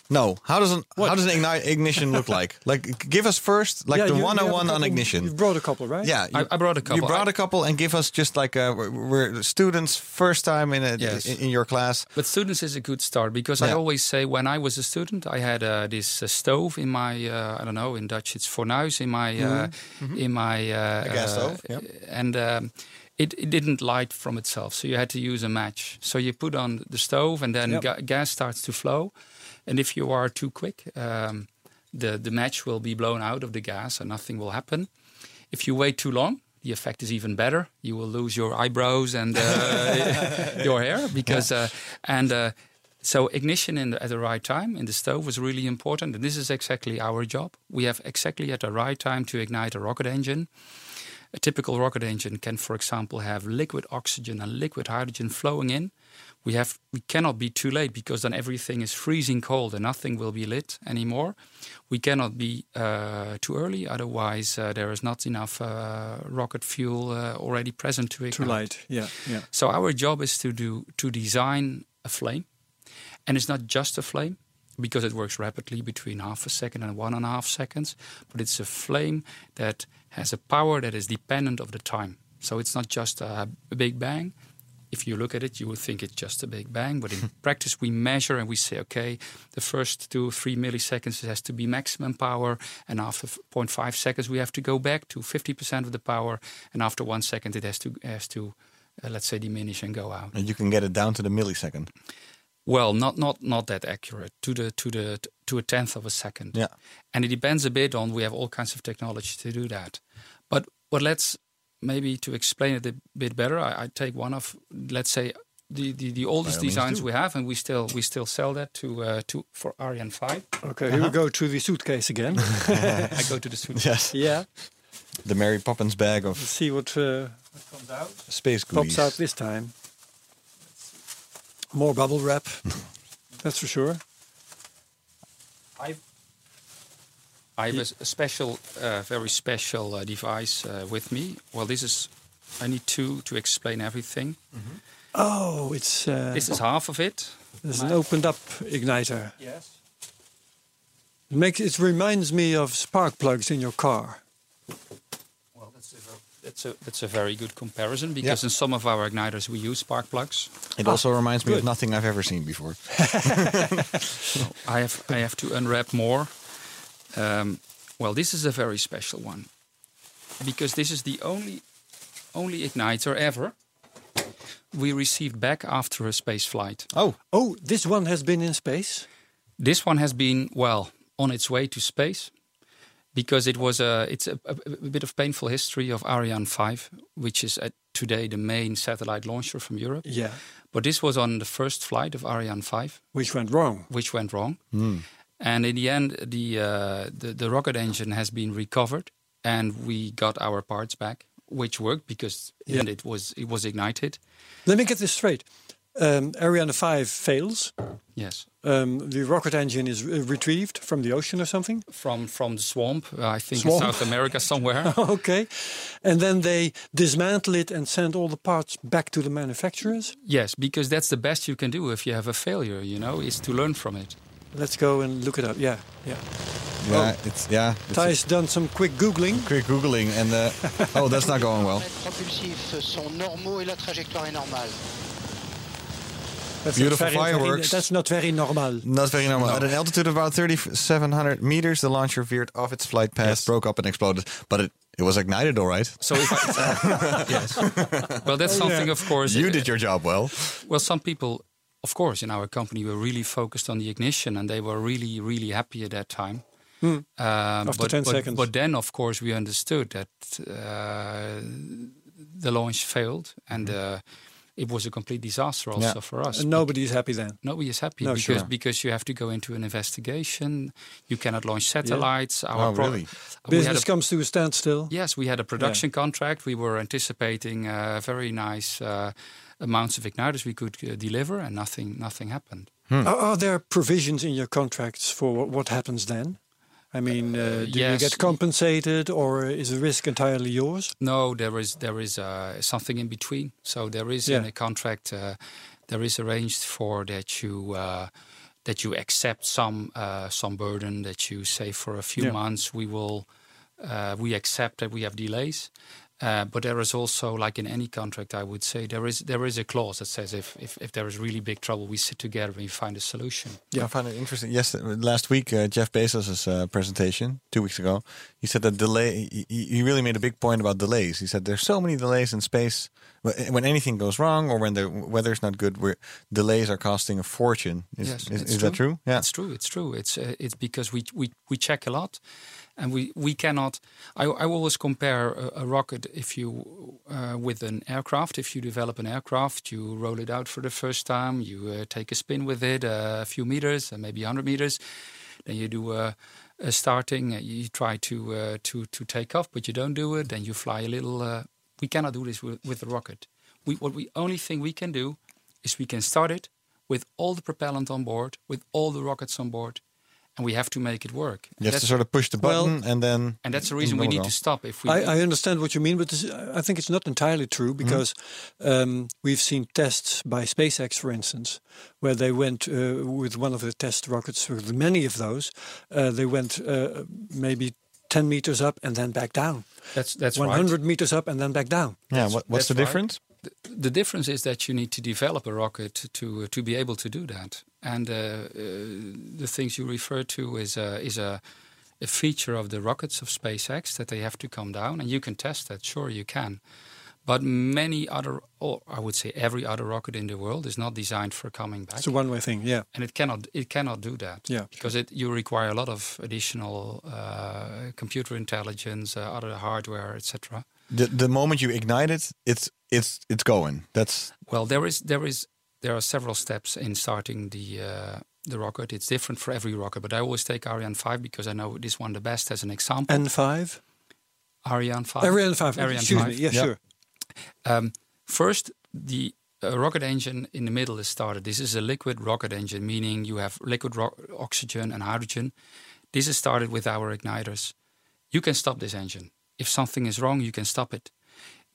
S2: No. How does an how does an igni- ignition look like? Like, give us first like
S1: Yeah,
S2: the
S1: you- you have a
S2: 101 on
S1: couple-
S2: ignition.
S1: You've brought a couple, right?
S2: Yeah,
S3: I- I brought a couple.
S2: You brought
S3: I-
S2: a couple and give us just like uh, we're, we're students first time in a,
S3: Yes.
S2: in, in your class.
S3: But students is a good start because I
S2: Yeah.
S3: always say when I was a student, I had uh, this uh, stove in my uh, I don't know in Dutch it's fornuis in my uh, in my uh,
S2: gas
S3: uh,
S2: stove, yep.
S3: and um, it, it didn't light from itself, so you had to use a match. So you put on the stove, and then
S1: Yep.
S3: ga- gas starts to flow, and if you are too quick, um, the the match will be blown out of the gas, and nothing will happen. If you wait too long. The effect is even better. You will lose your eyebrows and uh, your hair because uh, and uh, so ignition in the, at the right time in the stove was really important. And this is exactly our job. We have exactly at the right time to ignite a rocket engine. A typical rocket engine can, for example, have liquid oxygen and liquid hydrogen flowing in. We have we cannot be too late because then everything is freezing cold and nothing will be lit anymore. We cannot be uh, too early, otherwise uh, there is not enough uh, rocket fuel uh, already present to ignite.
S1: Too light. Yeah, yeah.
S3: So our job is to do to design a flame, and it's not just a flame because it works rapidly between half a second and one and a half seconds, but it's a flame that has a power that is dependent of the time. So it's not just a, a big bang. If you look at it, you would think it's just a big bang, but in practice, we measure and we say, okay, the first two, three milliseconds it has to be maximum power, and after f- 0.5 seconds, we have to go back to 50% of the power, and after one second, it has to has to uh, let's say diminish and go out.
S2: And you can get it down to the millisecond.
S3: Well, not not not that accurate to the to the to a tenth of a second.
S2: Yeah.
S3: and it depends a bit on we have all kinds of technology to do that. But but let's maybe to explain it a bit better. I, I take one of let's say the the, the oldest designs we have, and we still we still sell that to uh, to for Ariane five.
S1: Okay, here we go to the suitcase again.
S3: I go to the suit.
S2: Yes.
S1: yeah,
S2: The Mary Poppins bag of
S1: see what uh,
S2: space goodies.
S1: pops out this time. More bubble wrap, that's for sure.
S3: I I have a, s- a special, uh, very special uh, device uh, with me. Well, this is. I need two to explain everything.
S1: Oh, it's uh,
S3: This is half of it.
S1: there's an opened up igniter.
S3: Yes.
S1: It makes it reminds me of spark plugs in your car.
S3: Well, that's a, ver- that's a that's a very good comparison because in some of our igniters we use spark plugs.
S2: It also
S1: Ah,
S2: reminds me of nothing I've ever seen before.
S1: Oh.
S3: I have I have to unwrap more. Um, well, this is a very special one because this is the only only igniter ever we received back after a space flight.
S2: Oh,
S1: Oh, this one has been in space.
S3: This one has been well on its way to space because it was a it's a, a, a bit of painful history of Ariane 5, which is at today the main satellite launcher from Europe.
S1: Yeah,
S3: But this was on the first flight of Ariane 5,
S1: which went wrong.
S3: which went wrong. And in the end, the, uh, the the rocket engine has been recovered, and we got our parts back, which worked because
S1: Yeah.
S3: and it was it was ignited.
S1: Let me get this straight. Um, Ariane 5 fails.
S3: Yes,
S1: Um, the rocket engine is uh, retrieved from the ocean or something.
S3: from from the swamp, uh, I think
S1: Swamp.
S3: in South America somewhere.
S1: okay. And then they dismantle it and send all the parts back to the manufacturers.
S3: yes, because that's the best you can do if you have a failure. You know, is to learn from it.
S1: Let's go and look it up. Yeah, yeah.
S2: yeah, it's yeah. It's
S1: Ty's done some quick Googling.
S2: quick googling and uh, oh, that's not going well.
S7: propulsifs sont normaux et la trajectoire est normale.
S1: That's
S2: Beautiful
S1: not very, very-
S2: fireworks.
S1: that's not very normal.
S2: Not very normal. At an altitude of about 3,700 meters, the launcher veered off its flight path, broke up, and exploded. But it, it was ignited, all right.
S3: So if I, yes, well, that's something, of course. uh,
S2: You did your job well.
S3: Well, some people, of course, in our company were really focused on the ignition and they were really, really happy at that time. Um,
S1: Hmm. After
S3: but,
S1: 10
S3: but-
S1: seconds.
S3: But then, of course, we understood that uh, the launch failed and uh, it was a complete disaster also
S2: Yeah.
S3: for us.
S1: Hmm. And nobody's happy then.
S3: Nobody is happy
S1: No,
S3: because
S1: sure.
S3: because you have to go into an investigation. You cannot launch satellites. Our
S2: Oh, really?
S3: we had
S1: Business
S3: a-
S1: comes to a standstill.
S3: Yes, we had a production contract. We were anticipating uh, very nice uh, amounts of igniters we could uh, deliver, and nothing nothing happened.
S1: Are, are there provisions in your contracts for what, what happens then? I mean, uh, do
S3: yes.
S1: you get compensated or is the risk entirely yours?
S3: No, there is there is uh, something in between. So there is in
S1: Yeah.
S3: a contract, uh, there is arranged for that you. Uh, that you accept some uh, some burden that you say for a few
S1: Yeah.
S3: months we will uh, we accept that we have delays. Uh, but there is also, like in any contract, I would say there is there is a clause that says if if, if there is really big trouble, we sit together and we find a solution.
S2: I find it interesting. Yes, last week uh, Jeff Bezos' uh, presentation, two weeks ago, he said that delay. He, he really made a big point about delays. He said there's so many delays in space. Wh- eh, When anything goes wrong or when the weather's not good, where delays are costing a fortune. Is,
S3: yes,
S2: is,
S3: it's
S2: is that true?
S3: It's true. It's true. It's uh, it's because we, we we check a lot, and we we cannot. I I always compare a, a rocket if you uh, with an aircraft. If you develop an aircraft, you roll it out for the first time. You uh, take a spin with it uh, a few meters, uh, maybe hundred meters. Then you do a, a starting. uh, You try to uh, to to take off, but you don't do it. Then you fly a little. Uh, we cannot do this with, with a rocket. We what we only thing we can do is we can start it with all the propellant on board, with all the rockets on board, and we have to make it work.
S2: You
S3: And
S2: have to
S3: that's-
S2: sort of Mm, push the
S1: Well-
S2: button and then.
S3: and that's the reason
S2: and
S3: we
S2: then
S3: need
S2: we'll
S3: to stop. If we,
S1: I, I understand what you mean, but this, I think it's not entirely true
S3: Mm-hmm.
S1: because um, we've seen tests by SpaceX, for instance, where they went uh, with one of the test rockets, with many of those, uh, they went uh, maybe 10 meters up and then back down,
S3: that's that's right.
S1: 100 meters up and then back down.
S2: go. Yeah. What, what's
S3: that's
S2: the
S3: right.
S2: difference?
S3: the difference is that you need to develop a rocket to to be able to do that. And uh, uh, the things you refer to is a, is a a feature of the rockets of SpaceX that they have to come down, and you can test that. Sure, you can. But many other, or I would say every other rocket in the world, is not designed for coming back.
S1: It's a one way thing, yeah.
S3: and it cannot it cannot do that
S1: Yeah,
S3: because it you require a lot of additional uh, computer intelligence, uh, other hardware, etc.
S2: The, the moment you ignite it, it's it's it's going. That's
S3: Well, there is there is there are several steps in starting the uh, the rocket. It's different for every rocket, but I always take Ariane five because I know this one the best as an example.
S1: N5?
S3: Ariane five.
S1: Ariane 5,
S3: Ariane
S1: excuse
S3: 5.
S1: me, yeah,
S2: Yeah.
S1: sure.
S3: Um, first, the uh, rocket engine in the middle is started. This is a liquid rocket engine, meaning you have liquid ro- oxygen and hydrogen. This is started with our igniters. You can stop this engine. If something is wrong, you can stop it.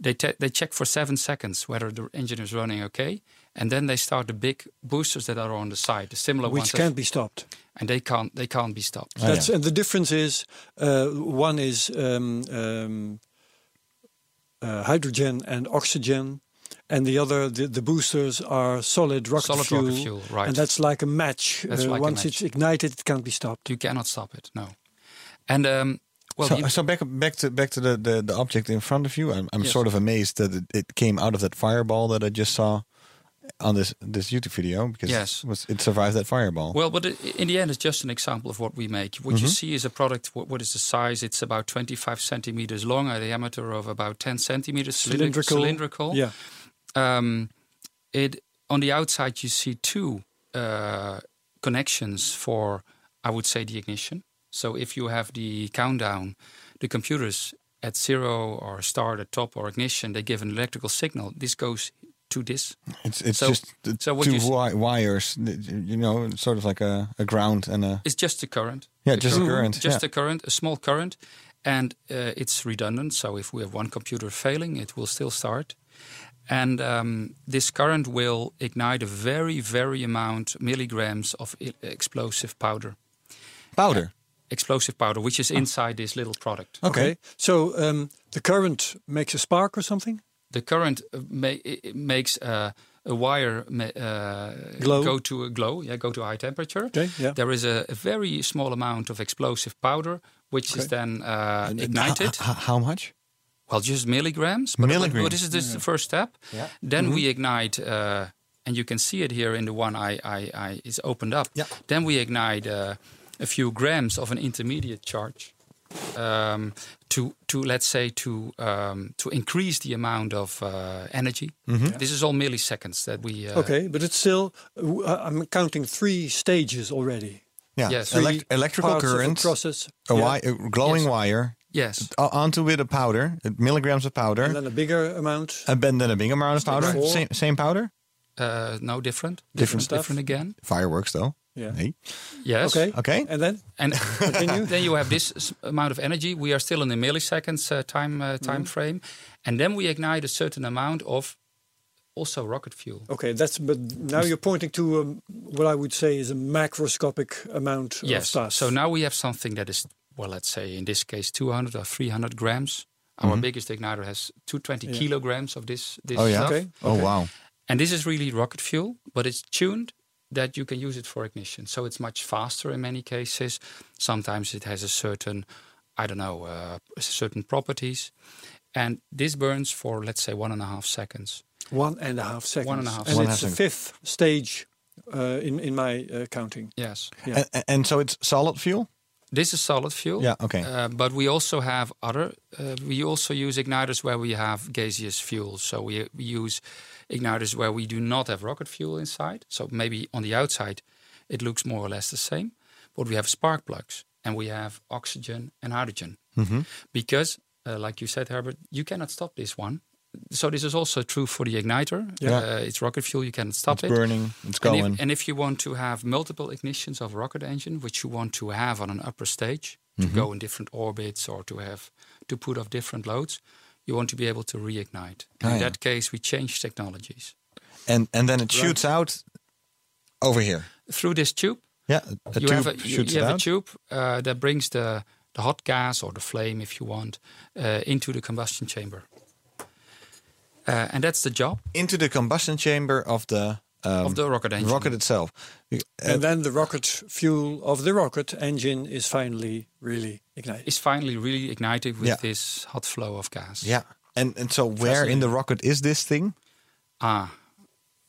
S3: They, te- they check for seven seconds whether the engine is running okay, and then they start the big boosters that are on the side, the similar ones,
S1: Which
S3: that-
S1: can't be stopped.
S3: and they can't they can't be stopped.
S1: That's and the difference is uh, one is um, um, uh, hydrogen and oxygen, and the other the, the boosters are solid rocket
S3: Solid
S1: fuel.
S3: rocket fuel, right.
S1: And that's like a match. Uh,
S3: That's like a
S1: once
S3: match.
S1: it's ignited, it can't be stopped.
S3: You cannot stop it. No, and um, well,
S2: so,
S3: the-
S2: so back back to back to the, the, the object in front of you. I'm, I'm
S3: Yes.
S2: sort of amazed that it, it came out of that fireball that I just saw on this this YouTube video because
S3: Yes.
S2: it, was, it survived that fireball.
S3: Well, but i- in the end, it's just an example of what we make. What you see is a product. What, what is the size? It's about 25 centimeters long, a diameter of about 10 centimeters, cylinder- cylindrical.
S1: Yeah.
S3: Um, it on the outside you see two uh, connections for, I would say, the ignition. So if you have the countdown, the computers at zero or start at top or ignition, they give an electrical signal. This goes to this
S2: it's it's
S3: so-
S2: just the
S3: so what
S2: two
S3: you s-
S2: wi- wires, you know, sort of like a, a ground and a
S3: It's just the current.
S2: Yeah, just the current,
S3: Just
S2: yeah.
S3: the current, a small current, and uh, it's redundant. So if we have one computer failing, it will still start. And um, this current will ignite a very, very amount milligrams of i- explosive powder.
S2: powder.
S3: Explosive powder, which is inside this little product.
S2: Ah. Okay.
S1: So um, the current makes a spark or something.
S3: The current uh, ma- i- i- makes uh, a wire ma- uh,
S1: Glow.
S3: go to a glow, yeah, go to a high temperature.
S1: Okay, yeah.
S3: There is a, a very small amount of explosive powder, which is then uh,
S2: And- and ho-
S3: ignited.
S2: ho- how much?
S3: well, just milligrams. But, but-
S2: Milligrams.
S3: but this is this is the first step. Then we ignite, uh, and you can see it here in the one I, I, I is opened up.
S2: Yeah.
S3: Then we ignite uh, a few grams of an intermediate charge um, to to let's say to um, to increase the amount of uh, energy. This is all milliseconds that we. Uh,
S1: okay, but it's still w- I- I'm counting three stages already.
S2: Yeah,
S3: Yes.
S2: elec-
S1: Three
S2: electrical
S1: parts of a
S2: current, a,
S1: process, yeah,
S2: wi- a glowing
S3: Yes.
S2: wire
S3: Yes.
S2: o- onto with a powder, uh, milligrams of powder,
S1: and then a bigger amount.
S2: and then, then a big amount of powder,
S1: Right.
S2: same, same powder,
S3: Uh, no different.
S2: Different
S1: stuff.
S3: Different again.
S2: fireworks though.
S1: Yeah.
S2: Hey.
S3: Yes.
S1: Okay.
S2: Okay.
S1: And then
S3: And
S1: Continue.
S3: then you have this s- amount of energy. We are still in the
S2: Mm-hmm.
S3: milliseconds uh, time uh, time frame, and then we ignite a certain amount of also rocket fuel.
S1: Okay, that's but now you're pointing to um, what I would say is a macroscopic amount of
S3: Yes.
S1: stuff.
S3: So now we have something that is, well, let's say in this case, 200 or 300 grams. Our biggest igniter has 220 kilograms of this this
S2: Mm-hmm. Oh yeah.
S3: stuff,
S2: Oh wow.
S3: and this is really rocket fuel, but it's tuned that you can use it for ignition. So it's much faster in many cases. Sometimes it has a certain, I don't know, uh, certain properties, and this burns for let's say one and a half seconds.
S1: one and a half seconds.
S3: One and a half
S1: And
S2: One
S1: it's
S2: half
S1: the fifth stage uh, in in my uh, counting.
S3: Yes.
S1: Yeah.
S2: And, and so it's solid fuel.
S3: This is solid fuel.
S2: Yeah, okay.
S3: Uh, but we also have other. Uh, we also use igniters where we have gaseous fuel. So we, we use igniters where we do not have rocket fuel inside. So maybe on the outside, it looks more or less the same, but we have spark plugs and we have oxygen and hydrogen
S2: Mm-hmm.
S3: because, uh, like you said, Herbert, you cannot stop this one. So this is also true for the igniter.
S2: Yeah.
S3: Uh, it's rocket fuel. You cannot stop
S2: It's
S3: it.
S2: burning. It's
S3: And if-
S2: going.
S3: And if you want to have multiple ignitions of rocket engine, which you want to have on an upper stage to
S2: Mm-hmm.
S3: go in different orbits or to have to put off different loads, you want to be able to reignite.
S2: Ah,
S3: in
S2: yeah.
S3: that case, we change technologies
S2: and and then it shoots out over here.
S3: through this tube.
S2: Yeah, a
S3: you
S2: tube
S3: have a, you,
S2: shoots
S3: you
S2: it
S3: have a
S2: out.
S3: tube uh, that brings the the hot gas or the flame, if you want, uh, into the combustion chamber. Uh, and that's the job
S2: into the combustion chamber of the um,
S3: of the rocket engine.
S2: rocket itself. You- uh,
S1: and then the rocket fuel of the rocket engine is finally really ignited.
S3: is finally really ignited with
S2: Yeah.
S3: this hot flow of gas.
S2: yeah, and and so where in the rocket is this thing?
S3: Ah.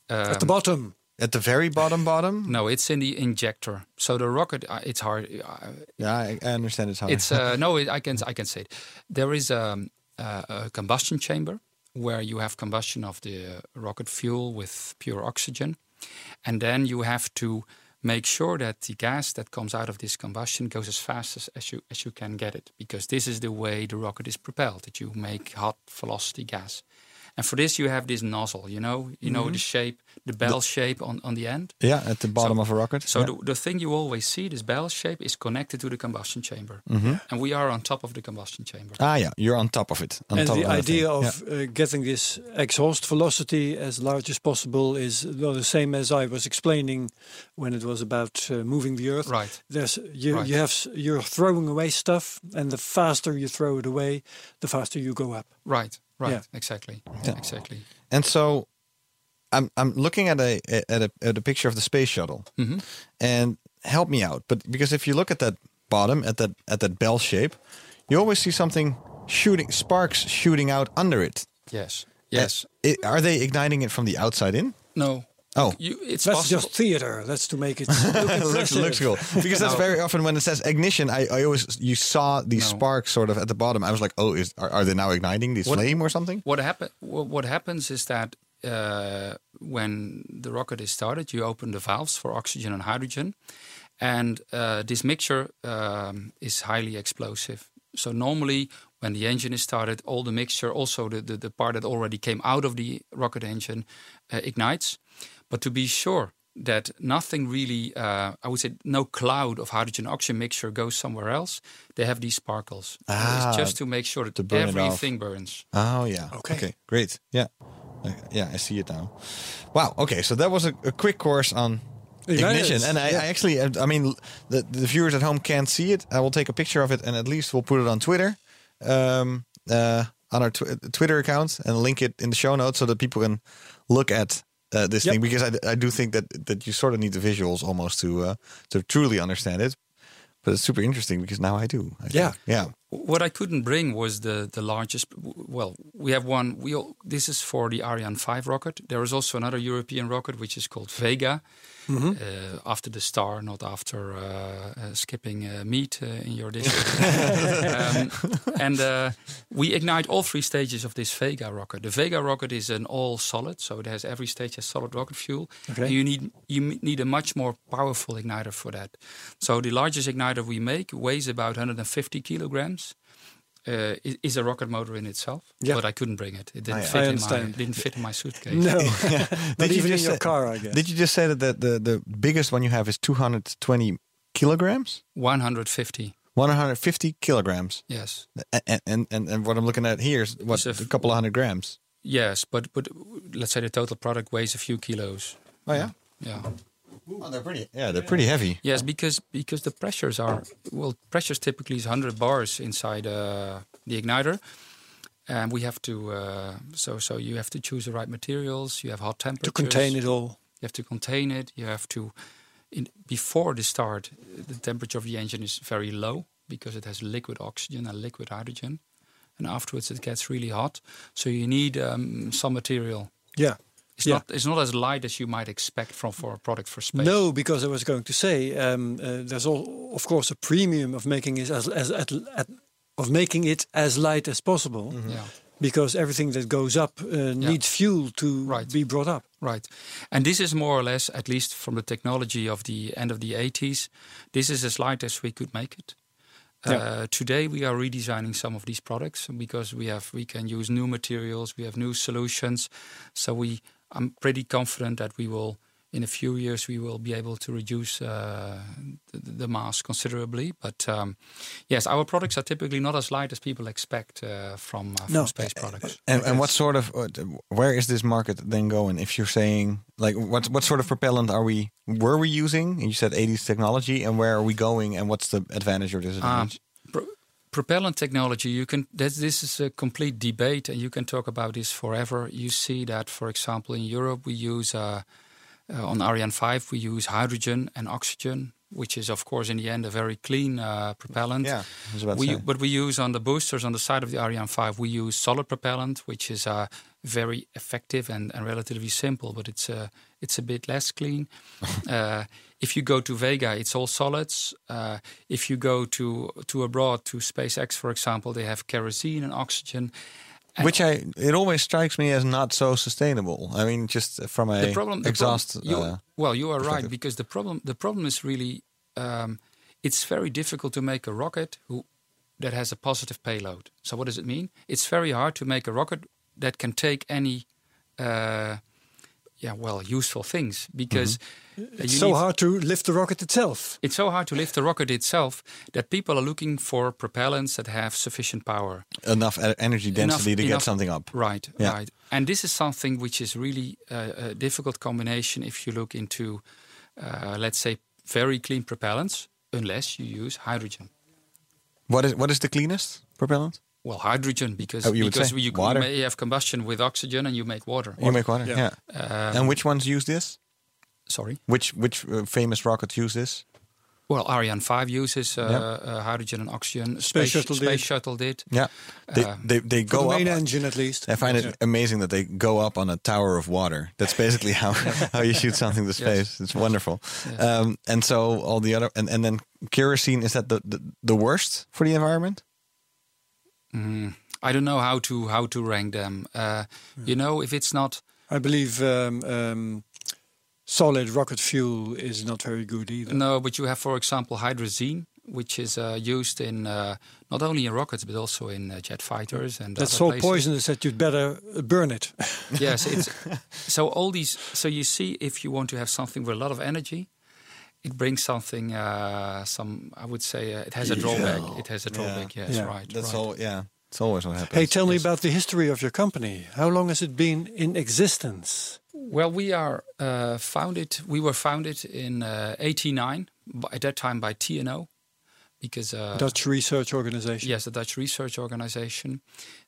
S1: At the bottom.
S2: At the very bottom, bottom.
S3: No, it's in the injector. So the rocket, uh, it's hard. uh,
S2: Yeah, I, I understand it's hard.
S3: It's uh, no, I can I can say it. There is um, a, a combustion chamber where you have combustion of the uh, rocket fuel with pure oxygen, and then you have to make sure that the gas that comes out of this combustion goes as fast as, as you as you can get it, because this is the way the rocket is propelled. That you make hot velocity gas. And for this, you have this nozzle, you know, you know the shape, the bell shape on, on the end.
S2: yeah, at the bottom
S3: So-
S2: of a rocket.
S3: So
S2: yeah.
S3: the, the thing you always see, this bell shape, is connected to the combustion chamber,
S2: Mm-hmm.
S3: and we are on top of the combustion chamber.
S2: ah, yeah, you're on top of it. On
S1: and
S2: top
S1: the
S2: of that
S1: idea
S2: thing.
S1: of uh, getting this exhaust velocity as large as possible is well, the same as I was explaining when it was about uh, moving the Earth.
S3: Right.
S1: There's you,
S3: Right.
S1: you have s- you're throwing away stuff, and the faster you throw it away, the faster you go up.
S3: Right, right,
S1: Yeah.
S3: exactly, exactly.
S2: yeah. and so. I'm I'm looking at a at a at a picture of the space shuttle,
S1: Mm-hmm.
S2: and help me out. But because if you look at that bottom at that at that bell shape, you always see something shooting sparks shooting out under it.
S3: Yes, yes.
S2: Uh, i- are they igniting it from the outside in?
S3: no.
S2: Oh.
S3: you, it's
S1: That's
S3: possible.
S1: just theater. That's to make it look
S2: looks,
S1: impressive.
S2: looks cool because that's very often when it says ignition. I, I always you saw these
S3: No.
S2: sparks sort of at the bottom. I was like, oh, is are, are they now igniting these
S3: What-
S2: flame or something?
S3: What happen? wha- What happens is that uh, when the rocket is started, you open the valves for oxygen and hydrogen, and uh, this mixture um, is highly explosive. So normally, when the engine is started, all the mixture, also the the, the part that already came out of the rocket engine, uh, ignites. But to be sure that nothing really, uh, I would say, no cloud of hydrogen oxygen mixture goes somewhere else, they have these sparkles.
S2: Ah,
S3: it's just to make sure that
S2: to burn it off.
S3: everything burns.
S2: Oh yeah.
S1: Okay.
S2: Great. Yeah. Okay, Yeah, I see it now. Wow. Okay, so that was a, a quick course on
S1: Igniters,
S2: ignition, and I, I actually, uh, I, I mean, the, the viewers at home can't see it. I will take a picture of it, and at least we'll put it on Twitter, um, uh, on our tw- Twitter account, and link it in the show notes so that people can look at uh, this
S1: Yep.
S2: thing because I, I do think that that you sort of need the visuals almost to uh, to truly understand it. But it's super interesting because now I do. I
S1: Yeah.
S2: think. Yeah.
S3: What I couldn't bring was the the largest. Well, we have one. We all, this is for the Ariane 5 rocket. There is also another European rocket which is called Vega,
S1: Hmm?
S3: uh, after the star, not after uh, uh, skipping uh, meat uh, in your dish. um, and uh, we ignite all three stages of this Vega rocket. The Vega rocket is an all solid, so it has every stage has solid rocket fuel.
S1: Okay.
S3: And you need you m- need a much more powerful igniter for that. So the largest igniter we make weighs about 150 kilograms. Uh, i- is a rocket motor in itself,
S1: Yeah.
S3: but I couldn't bring it. It didn't
S2: yeah.
S3: fit
S1: I
S3: in my
S1: understand.
S3: didn't fit in my suitcase.
S1: No, not
S2: Did you
S1: even in
S2: just
S1: your
S2: say-
S1: car, I guess.
S2: Did you just say that the, the, the biggest one you have is 220 kilograms?
S3: 150.
S2: 150 kilograms.
S3: Yes,
S2: A- And, and, and what I'm looking at here is what,
S3: It's a f-
S2: a couple of hundred grams.
S3: Yes, but but let's say the total product weighs a few kilos.
S2: Oh yeah.
S3: Yeah.
S2: Oh, they're pretty. Yeah, they're pretty heavy.
S3: Yes, because because the pressures are well, pressures typically is 100 bars inside uh, the igniter, and we have to uh, so so you have to choose the right materials. You have hot temperatures
S1: to contain it all.
S3: You have to contain it. You have to in, before the start, the temperature of the engine is very low because it has liquid oxygen and liquid hydrogen, and afterwards it gets really hot. So you need um, some material.
S1: Yeah.
S3: It's
S1: yeah.
S3: not it's not as light as you might expect from for a product for space.
S1: No, because I was going to say um, uh, there's all, of course, a premium of making it as, as at, at, of making it as light as possible,
S3: Yeah.
S1: because everything that goes up uh, needs fuel to
S3: Right.
S1: be brought up.
S3: Right. And this is more or less, at least from the technology of the end of the 80s, this is as light as we could make it. Uh, today we are redesigning some of these products because we have we can use new materials, we have new solutions. So we, I'm pretty confident that we will, in a few years, we will be able to reduce uh, the, the mass considerably. But um, yes, our products are typically not as light as people expect uh, from, uh, from
S1: No.
S3: space products.
S2: And, and what sort of what- where is this market then going? If you're saying like what what sort of propellant are we were we using? And you said 80s technology, and where are we going? And what's the advantage or
S3: Ah,
S2: disadvantage?
S3: pro- propellant technology you can this, this is a complete debate and you can talk about this forever you see that for example in europe we use uh, uh, on ariane 5 we use hydrogen and oxygen which is of course in the end a very clean uh, propellant
S2: Yeah, I was about to
S3: we,
S2: say.
S3: but we use on the boosters on the side of the ariane 5 we use solid propellant which is uh, very effective and, and relatively simple but it's uh, it's a bit less clean uh, if you go to Vega, it's all solids. Uh, if you go to to abroad to SpaceX, for example, they have kerosene and oxygen. And
S2: Which I it always strikes me as not so sustainable. I mean, just from a
S3: the problem the
S2: exhaust.
S3: problem- you-
S2: uh,
S3: well, you are right
S2: perspective.
S3: because the problem the problem is really um, it's very difficult to make a rocket who that has a positive payload. So what does it mean? It's very hard to make a rocket that can take any. Uh, yeah, well, useful things because
S2: Mm-hmm.
S3: uh,
S1: It's
S3: you
S1: so
S3: need-
S1: hard to lift the rocket itself.
S3: It's so hard to lift the rocket itself that people are looking for propellants that have sufficient power.
S2: enough e- energy density
S3: Enough-
S2: to
S3: enough-
S2: get something up.
S3: Right,
S2: Yeah.
S3: right. And this is something which is really uh, a difficult combination if you look into, uh, let's say, very clean propellants, unless you use hydrogen.
S2: What is what is the cleanest propellant?
S3: Well, hydrogen because
S2: Oh, you would
S3: because
S2: say
S3: you,
S2: water.
S3: you may have combustion with oxygen and you make water.
S2: You make water. Yeah.
S1: Yeah.
S3: Um,
S2: and which ones use this?
S3: Sorry.
S2: Which which uh, famous rockets use this?
S3: Well, Ariane 5 uses uh,
S2: Yeah.
S3: uh, hydrogen and oxygen.
S1: Shuttle did.
S3: Space Shuttle did.
S2: Yeah. They
S3: Um,
S2: they, they
S1: For
S2: go
S1: the main
S2: up.
S1: engine, at least.
S2: I find it amazing that they go up on a tower of water. That's basically how, how you shoot something to space. It's wonderful. Um, and so all the other and, and then kerosene is that the, the the worst for the environment?
S3: I don't know how to how to rank them. Uh, You know, if it's not
S1: I believe um, um, solid rocket fuel is not very good either.
S3: no, but you have, for example, hydrazine, which is uh, used in uh, not only in rockets but also in uh, jet fighters and
S1: That's
S3: other
S1: so
S3: places.
S1: poisonous that you'd better uh, burn it.
S3: yes, it's so all these. So you see, if you want to have something with a lot of energy, it brings something. Uh, some, I would say, uh, it has a drawback. It has a drawback. Yes,
S1: Yeah.
S3: right.
S2: That's
S3: right.
S2: all. Yeah, it's always what happens.
S1: Hey, tell me about the history of your company. How long has it been in existence?
S3: Well, we are uh, founded. We were founded in uh, '89 b- at that time by TNO, because uh,
S1: Dutch research organization.
S3: yes, the Dutch research organization.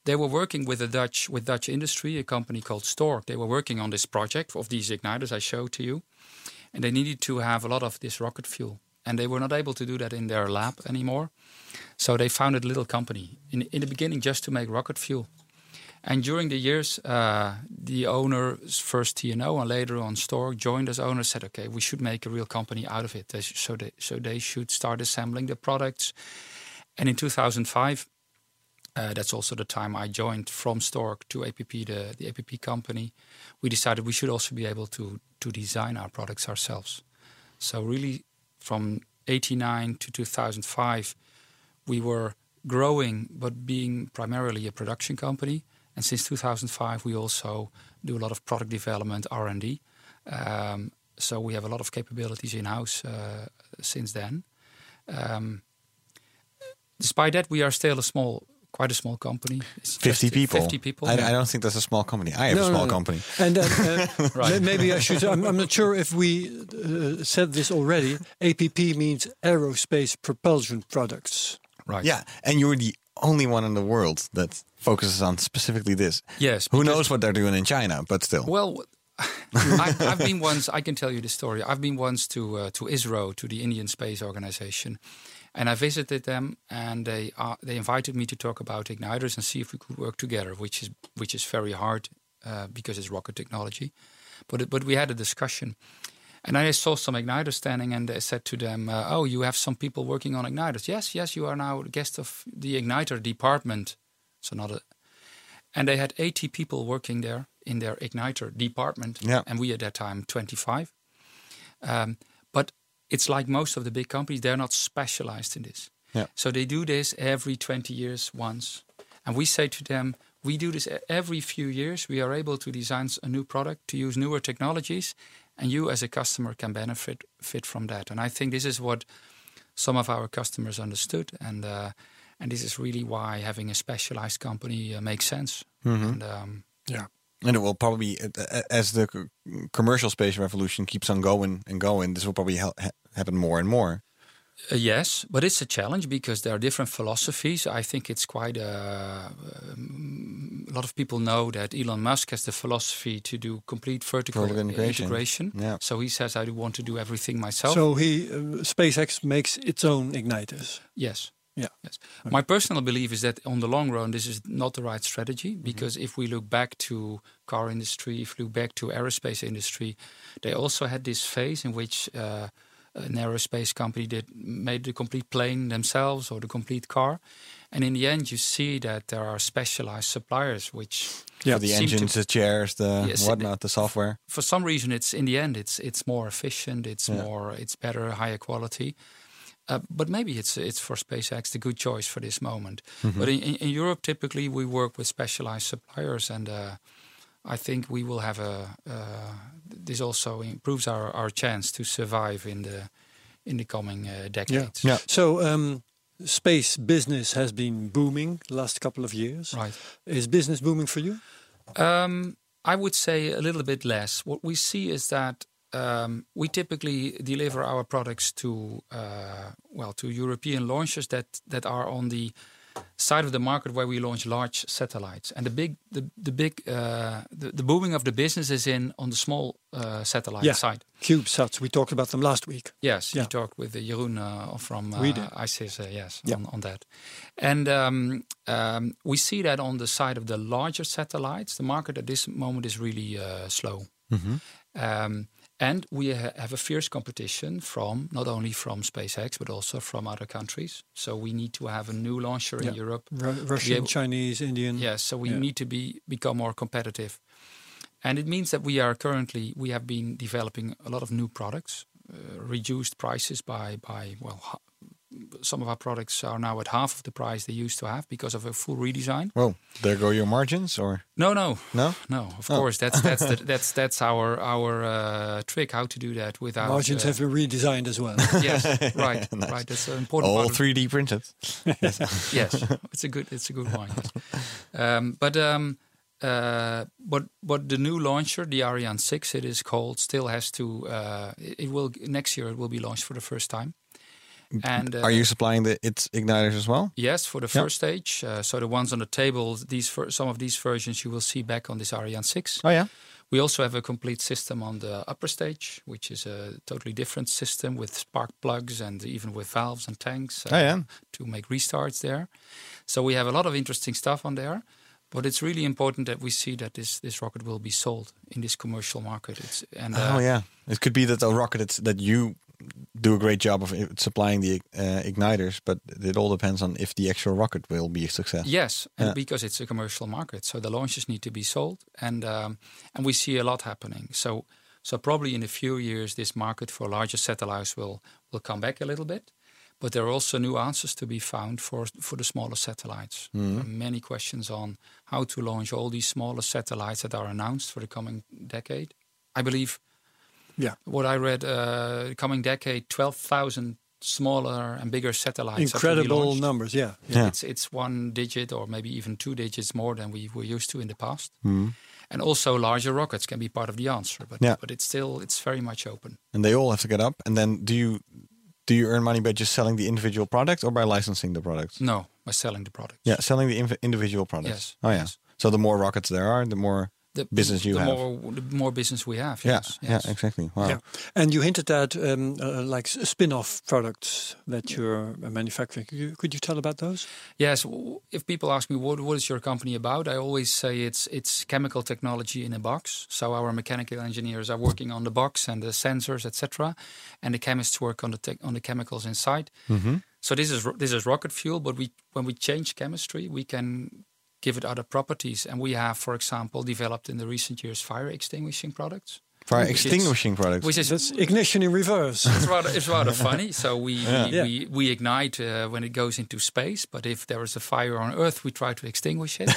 S3: They were working with the Dutch with Dutch industry, a company called Stork. They were working on this project of these igniters I showed to you, and they needed to have a lot of this rocket fuel, and they were not able to do that in their lab anymore. So they founded a little company in in the beginning just to make rocket fuel. And during the years, uh, the owners, first TNO and later on Stork, joined as owners, said, okay, we should make a real company out of it. They sh- so, they, so they should start assembling the products. And in 2005, uh, that's also the time I joined from Stork to APP, the, the APP company. We decided we should also be able to, to design our products ourselves. So, really, from 89 to 2005, we were growing but being primarily a production company and since 2005 we also do a lot of product development r&d um, so we have a lot of capabilities in-house uh, since then um, despite that we are still a small quite a small company. It's
S2: 50
S3: just
S2: people.
S3: 50 people.
S2: I,
S3: yeah.
S2: I don't think that's a small company. I have a
S1: No, no,
S2: small
S1: no.
S2: company.
S1: And then, uh, may-
S3: Right.
S1: maybe I should. I'm, I'm not sure if we uh, said this already. APP means aerospace propulsion products.
S3: Right.
S2: Yeah, and you're the only one in the world that focuses on specifically this.
S3: Yes,
S2: Who
S3: because-
S2: knows what they're doing in China, but still.
S3: Well, I, I've been once. I can tell you the story. I've been once to uh, to ISRO, to the Indian Space Organization, and I visited them, and they uh, they invited me to talk about igniters and see if we could work together, which is which is very hard uh, because it's rocket technology. But it, but we had a discussion. And I saw some igniters standing, and I said to them, uh, "Oh, you have some people working on igniters. Yes, yes, you are now a guest of the igniter department. So not a, and they had 80 people working there in their igniter department
S2: Yeah.
S3: and we at that time 25 um, but it's like most of the big companies they're not specialized in this
S2: Yeah.
S3: so they do this every 20 years once and we say to them we do this e- every few years we are able to design s- a new product to use newer technologies and you as a customer can benefit fit from that and i think this is what some of our customers understood, and uh, and this is really why having a specialized company uh, makes sense. And, um,
S1: Yeah.
S2: And it will probably, uh, uh, as the c- commercial space revolution keeps on going and going, this will probably hel- ha- happen more and more.
S3: uh, yes, but it's a challenge because there are different philosophies. I think it's quite a, a lot of people know that Elon Musk has the philosophy to do complete vertical
S2: Vertical integration.
S3: integration.
S2: Yeah.
S3: So he says, "I do want to do everything myself."
S1: So he uh, SpaceX makes its own igniters.
S3: Yes.
S1: Yeah.
S3: Yes. My personal belief is that on the long run, this is not the right strategy because if we look back to car industry, if we look back to aerospace industry, they also had this phase in which uh, an aerospace company did made the complete plane themselves or the complete car, and in the end, you see that there are specialized suppliers which
S2: Yeah, the
S3: seem to-
S2: engines, the chairs, the
S3: Yes, it-
S2: whatnot, the software.
S3: for some reason it's in the end it's it's more efficient it's more it's better higher quality uh, but maybe it's it's for SpaceX the good choice for this moment but in, in, in Europe typically we work with specialized suppliers and uh, I think we will have a uh, this also improves our, our chance to survive in the in the coming uh, decades
S2: Yeah.
S1: So um, space business has been booming the last couple of years.
S3: right
S1: Is business booming for you?
S3: Um, I would say a little bit less. What we see is that um, we typically deliver our products to uh, well to European launchers that that are on the side of the market where we launch large satellites. And the big the the big uh, the, the booming of the business is in on the small uh, satellite side.
S1: CubeSats. We talked about them last week.
S3: Yes,
S1: Yeah.
S3: you talked with uh, Jeroen uh, from uh,
S1: We did.
S3: ICIS, uh, yes,
S1: Yeah.
S3: on, on that. And um, um, we see that on the side of the larger satellites, the market at this moment is really uh, slow.
S1: Mm-hmm.
S3: Um, and we ha- have a fierce competition from not only from SpaceX but also from other countries. So we need to have a new launcher in
S1: Yeah.
S3: Europe.
S1: Ru-
S3: to be
S1: Russian,
S3: able-
S1: Chinese, Indian.
S3: Yes, so we
S1: Yeah.
S3: need to be become more competitive, and it means that we are currently we have been developing a lot of new products, uh, reduced prices by by well, ha- some of our products are now at half of the price they used to have because of a full redesign.
S2: Well, there go your margins, or
S3: No, no,
S2: no? Oh.
S3: no. Of course, that's that's the, that's that's our our uh, trick how to do that without
S1: Margins
S3: uh,
S1: have been redesigned as well.
S3: yes, right, right. That's an important.
S2: All
S3: part of-
S2: 3D printed.
S3: yes, it's a good it's a good wine. yes. Um, but um, uh, but but the new launcher, the Ariane six, it is called, still has to. Uh, it it will next year. It will be launched for the first time. And uh,
S2: Are you supplying the its igniters as well?
S3: Yes, for the
S2: Yeah.
S3: first stage. Uh, so the ones on the table, these fir- some of these versions you will see back on this Ariane six.
S2: Oh yeah.
S3: We also have a complete system on the upper stage, which is a totally different system with spark plugs and even with valves and tanks uh,
S2: Oh, yeah.
S3: to make restarts there. So we have a lot of interesting stuff on there. But it's really important that we see that this, this rocket will be sold in this commercial market. It's, and uh,
S2: oh yeah. It could be that the rocket it's, that you do a great job of i- supplying the uh, igniters, but it all depends on if the actual rocket will be a success.
S3: Yes, and
S2: Yeah.
S3: because it's a commercial market, so the launches need to be sold, and um, and we see a lot happening. So so probably in a few years, this market for larger satellites will will come back a little bit, but there are also new answers to be found for for the smaller satellites. There are many questions on how to launch all these smaller satellites that are announced for the coming decade. I believe
S1: yeah.
S3: what I read, uh, coming decade, 12,000 smaller and bigger satellites. have to be
S1: Incredible
S3: launched.
S1: numbers, yeah.
S2: Yeah.
S3: It's it's one digit or maybe even two digits more than we were used to in the past. And also larger rockets can be part of the answer, but
S2: Mm-hmm. Yeah.
S3: but it's still it's very much open.
S2: and they all have to get up. And then do you do you earn money by just selling the individual product or by licensing the products?
S3: No, by selling the product.
S2: Yeah, selling the inv- individual products.
S3: Mm. Yes,
S2: Oh yeah.
S3: yes.
S2: So the more rockets there are, the more
S3: The
S2: business you
S3: the
S2: have.
S3: more the more business we have.
S2: yeah,
S3: yes,
S2: yeah,
S3: yes.
S2: exactly. Wow.
S1: Yeah. And you hinted at um, uh, like s- spin-off products that you're uh, manufacturing. Could you, could you tell about those?
S3: Yes, w- if people ask me what what is your company about, I always say it's it's chemical technology in a box. So our mechanical engineers are working on the box and the sensors, etc., and the chemists work on the tech on the chemicals inside.
S2: Mm-hmm.
S3: So this is ro- this is rocket fuel, but we when we change chemistry, we can give it other properties. And we have, for example, developed in the recent years fire extinguishing products,
S2: Fire
S3: which is-
S2: extinguishing products.
S3: which is
S1: That's ignition in reverse.
S3: it's rather, it's rather funny. So we we,
S1: Yeah.
S3: we, we ignite uh, when it goes into space, but if there is a fire on Earth, we try to extinguish it.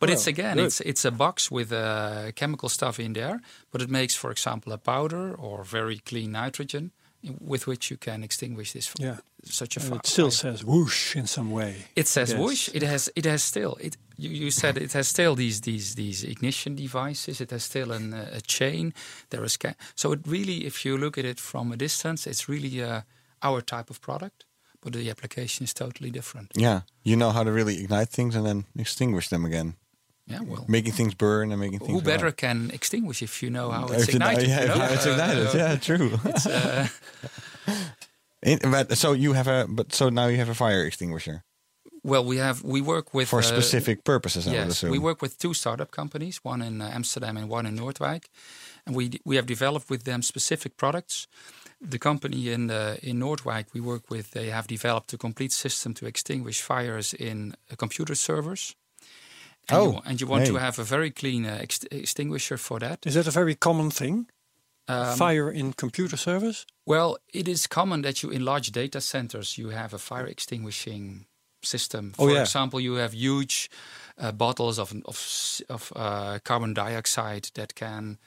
S3: but it's
S1: Oh,
S3: again, it's it's a box with uh, chemical stuff in there, but it makes, for example, a powder or very clean nitrogen in- with which you can extinguish this. f-
S1: Yeah.
S3: such a
S1: And
S3: fire.
S1: it still says whoosh in some way.
S3: It says
S1: Yes.
S3: whoosh. It has it has still it. You, you said it has still these these these ignition devices. It has still an, uh, a chain. There is ca- so it really, if you look at it from a distance, it's really uh, our type of product, but the application is totally different.
S2: yeah, you know how to really ignite things and then extinguish them again,
S3: Yeah, well,
S2: making things burn and making things.
S3: who
S2: go
S3: better
S2: out.
S3: can extinguish if you know how
S2: If
S3: it's
S2: you know-
S3: ignited?
S2: yeah,
S3: you
S2: if
S3: know?
S2: how it's
S3: Uh,
S2: ignited.
S3: uh,
S2: yeah, true.
S3: it's, uh,
S2: In- but so you have a but so now you have a fire extinguisher
S3: well, we have we work with
S2: for
S3: uh,
S2: specific purposes. I would
S3: Yes,
S2: assume.
S3: we work with two startup companies, one in uh, Amsterdam and one in Noordwijk, and we d- we have developed with them specific products. The company in uh, in Noordwijk we work with, they have developed a complete system to extinguish fires in uh, computer servers. And
S2: Oh,
S3: you, wa- and you want to
S2: nee.
S3: have a very clean uh, ext- extinguisher for that.
S1: Is that a very common thing?
S3: Um,
S1: Fire in computer servers?
S3: Well, it is common that you in large data centers you have a fire extinguishing system.
S1: Oh,
S3: For
S1: yeah.
S3: example, you have huge uh, bottles of of, s- of uh, carbon dioxide that can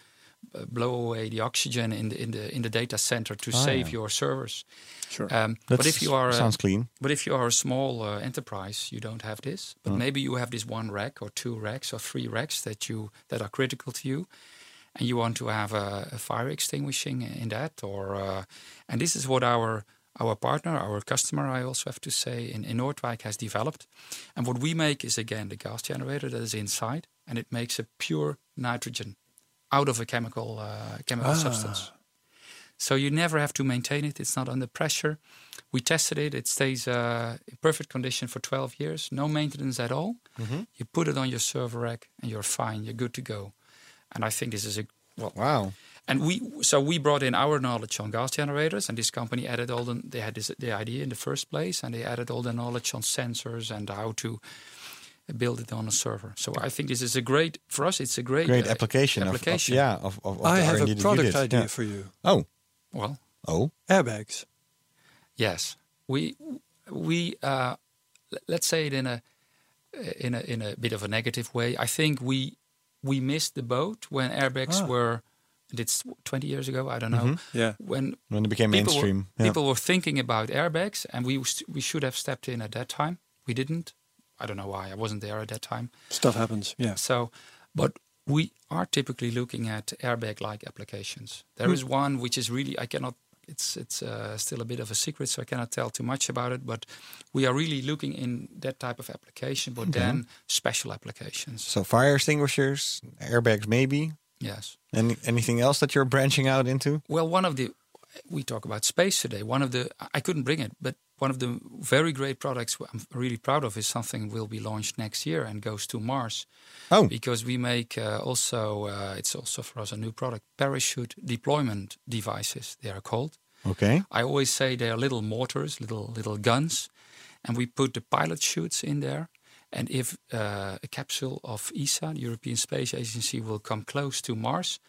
S3: uh, blow away the oxygen in the in the in the data center to
S1: Oh,
S3: save your servers. Sure. Um, but if
S2: That's-
S3: you are a-
S2: sounds clean.
S3: but if you are a small uh, enterprise, you don't have this.
S2: Mm.
S3: But maybe you have this one rack or two racks or three racks that you that are critical to you, and you want to have a, a fire extinguishing in that. Or uh, and this is what our our partner, our customer, I also have to say, in, in Noordwijk has developed. And what we make is again the gas generator that is inside, and it makes a pure nitrogen out of a chemical uh,
S2: Ah.
S3: chemical substance. So you never have to maintain it. It's not under pressure. We tested it. It stays uh, in perfect condition for 12 years, no maintenance at all.
S2: Mm-hmm.
S3: You put it on your server rack, and you're fine. You're good to go. And I think this is a well.
S2: Wow.
S3: And we so we brought in our knowledge on gas generators, and this company added all the they had this, the idea in the first place, and they added all the knowledge on sensors and how to build it on a server. So I think this is a great for us. It's a great
S2: Great
S3: uh,
S2: application. of- of-
S3: application.
S2: yeah. Of, of, of
S1: I
S2: the
S1: have
S2: R&D
S1: a
S2: that you
S1: product
S2: did.
S1: idea
S2: Yeah.
S1: for you.
S2: Oh.
S3: Well,
S2: Oh.
S1: Airbags.
S3: Yes, we we uh, l- let's say it in a in a in a bit of a negative way. I think we we missed the boat when
S2: Ah.
S3: airbags were. and It's twenty years ago. I don't know.
S1: Yeah.
S3: When
S2: When it became Mm-hmm.
S3: people were-
S2: mainstream. Yeah.
S3: people were thinking about airbags, and we was- we should have stepped in at that time. We didn't. I don't know why. I wasn't there at that time.
S1: Stuff happens. Yeah.
S3: So, but we are typically looking at airbag-like applications. There is one which is really I cannot. It's it's uh, still a bit of a secret, so I cannot tell too much about it. But we are really looking in that type of application, but then special applications.
S2: So fire extinguishers, airbags, maybe.
S3: Yes.
S2: Any, anything else that you're branching out into?
S3: Well, one of the we talk about space today. One of the I couldn't bring it, but one of the very great products I'm really proud of is something will be launched next year and goes to Mars.
S2: Oh,
S3: because we make uh, also uh, it's also for us a new product parachute deployment devices they are called
S2: okay.
S3: i always say they are little mortars little little guns and we put the pilot chutes in there and if uh, a capsule of esa the european space agency will come close to mars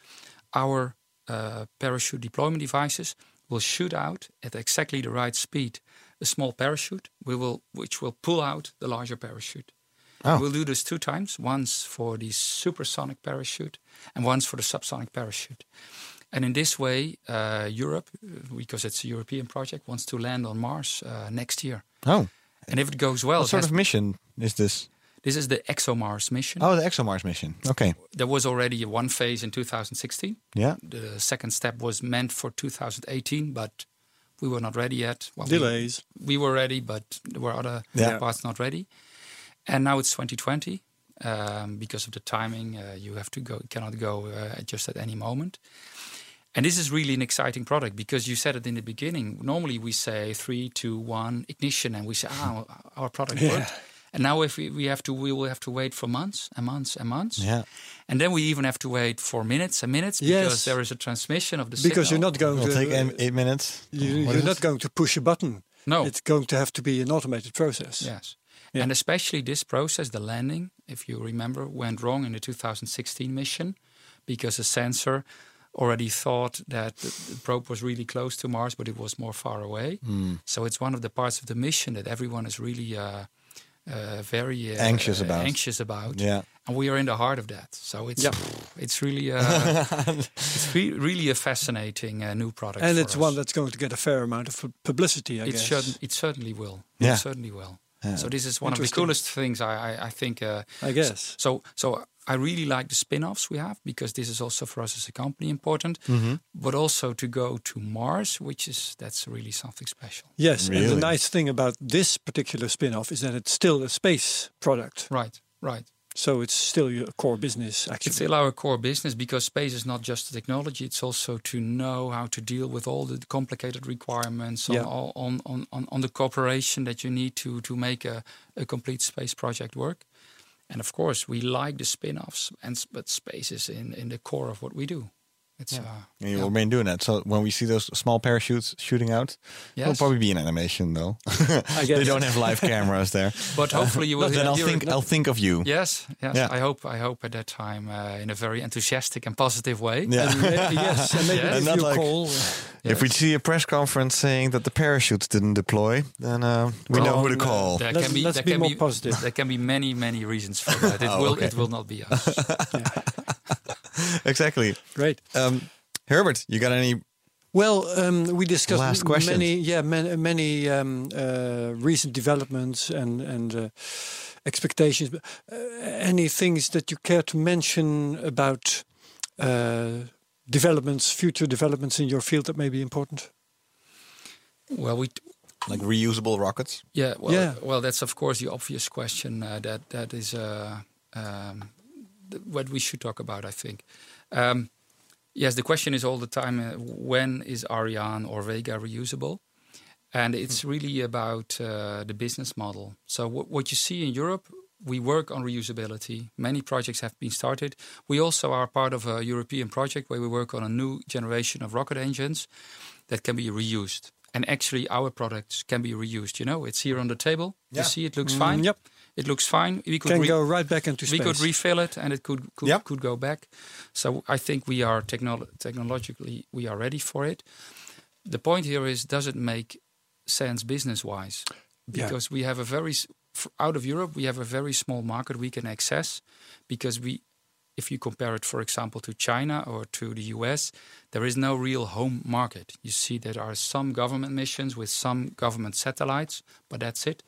S3: our uh, parachute deployment devices will shoot out at exactly the right speed a small parachute we will, which will pull out the larger parachute
S2: Oh.
S3: We'll do this two times: once for the supersonic parachute, and once for the subsonic parachute. And in this way, uh, Europe, uh, because it's a European project, wants to land on Mars uh, next year.
S2: Oh,
S3: And if it goes well,
S2: what
S3: it
S2: sort
S3: has-
S2: of mission is this?
S3: this is the ExoMars mission.
S2: Oh, the ExoMars mission. Okay.
S3: There was already one phase in 2016.
S2: Yeah.
S3: The second step was meant for 2018, but we were not ready yet. Well, we-
S1: Delays.
S3: we were ready, but there were other
S2: Yeah.
S3: parts not ready. And now it's 2020 um, because of the timing. Uh, you have to go, cannot go uh, at just at any moment. And this is really an exciting product because you said it in the beginning. Normally we say three, two, one, ignition, and we say, ah, our product worked. And now if we, we have to, we will have to wait for months and months and months.
S2: Yeah.
S3: And then we even have to wait for minutes and minutes
S1: Yes.
S3: because there is a transmission of the
S1: Because you're
S3: signal.
S1: not going
S2: It'll
S1: to
S2: take em- eight minutes.
S1: you,
S2: What
S1: you're
S2: is
S1: not
S2: it?
S1: going to push a button.
S3: No.
S1: it's going to have to be an automated process.
S3: Yes.
S1: Yeah.
S3: And especially this process, the landing, if you remember, went wrong in the 2016 mission because the sensor already thought that the, the probe was really close to Mars, but it was more far away. So it's one of the parts of the mission that everyone is really uh, uh, very uh,
S2: Anxious
S3: uh,
S2: about.
S3: Anxious about.
S2: Yeah.
S3: And we are in the heart of that. So it's it's really uh, it's re- really a fascinating uh, new product.
S1: and
S3: for
S1: it's one
S3: us.
S1: that's going to get a fair amount of pu- publicity. I
S3: It,
S1: guess.
S3: certain, it certainly will.
S2: Yeah.
S3: It certainly will.
S2: Yeah.
S3: So this is one of the
S1: Interesting.
S3: coolest things I, I, I think. Uh,
S1: I guess.
S3: So so I really like the spin-offs we have because this is also for us as a company important,
S2: Mm-hmm.
S3: but also to go to Mars, which is that's really something special.
S1: Yes, and
S2: Really?
S1: the nice thing about this particular spin-off is that it's still a space product,
S3: Right. Right.
S1: so it's still your core business. Actually,
S3: It's still our core business because space is not just the technology; it's also to know how to deal with all the complicated requirements on
S1: Yeah.
S3: all- on, on, on, on the cooperation that you need to to make a, a complete space project work. And of course, we like the spin-offs, and s- but space is in, in the core of what we do. It's uh,
S2: And you remain doing that. So when we see those small parachutes shooting out, it'll
S3: Yes.
S2: probably be an animation though. they
S1: guess.
S2: don't have live cameras there.
S3: but hopefully you will
S2: then I'll
S3: hear-
S2: think I'll think of you.
S3: Yes, yes.
S2: Yeah.
S3: I hope I hope at that time uh, in a very enthusiastic and positive way.
S2: Yeah.
S1: And may- yes, and maybe
S3: Yeah.
S2: And
S1: if
S2: not
S1: you
S2: like- uh,
S1: call, uh,
S2: If we see a press conference saying that the parachutes didn't deploy, then uh, we know who to
S1: Wrong.
S2: call.
S3: There
S1: Let's-
S3: can be
S1: let's
S3: there
S1: be
S3: can
S1: more
S3: be
S1: positive.
S3: There can be many many reasons for that. It
S2: Oh,
S3: will
S2: okay.
S3: it will not be us.
S2: exactly.
S1: great.
S2: Um, Herbert, you got any?
S1: Well, um, we discussed
S2: Last
S1: m-
S2: question.
S1: many, yeah, many, many um, uh, recent developments and and uh, expectations. But, Uh, any things that you care to mention about uh, developments, future developments in your field that may be important?
S3: Well, we
S2: Like reusable rockets?
S3: Yeah, well,
S1: Yeah.
S3: well, that's of course the obvious question uh, that that is uh, um, th- what we should talk about, I think. Um, yes, the question is all the time: uh, when is Ariane or Vega reusable? And
S1: Hmm.
S3: it's really about uh, the business model. So what what you see in Europe, we work on reusability. Many projects have been started. We also are part of a European project where we work on a new generation of rocket engines that can be reused. And actually, our products can be reused. You know, it's here on the table. You
S2: Yeah.
S3: see, it looks fine.
S1: Mm, yep.
S3: it looks fine. We could
S1: Can
S3: re-
S1: go right back into
S3: we
S1: space.
S3: could refill it, and it could could,
S2: Yeah.
S3: could go back. So I think we are technolo- technologically we are ready for it. The point here is, does it make sense business wise?
S1: Yeah.
S3: Because we have a very s- f- out of Europe, we have a very small market we can access because we. If you compare it, for example, to China or to the US, there is no real home market. You see, there are some government missions with some government satellites, but that's it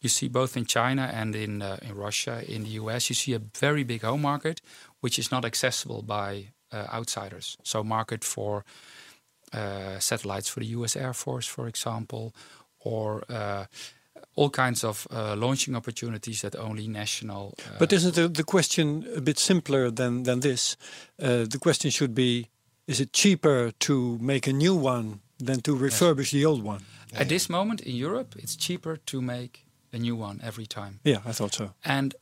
S3: you see both in China and in uh, in Russia, in the US, you see a very big home market, which is not accessible by uh, outsiders. So market for uh, satellites for the US Air Force, for example, or uh, all kinds of uh, launching opportunities that only national. Uh,
S1: But isn't the, the question a bit simpler than than this? Uh, the question should be: Is it cheaper to make a new one than to refurbish the old one?
S3: at this moment in Europe, it's cheaper to make a new one every time.
S1: Yeah, I thought so.
S3: and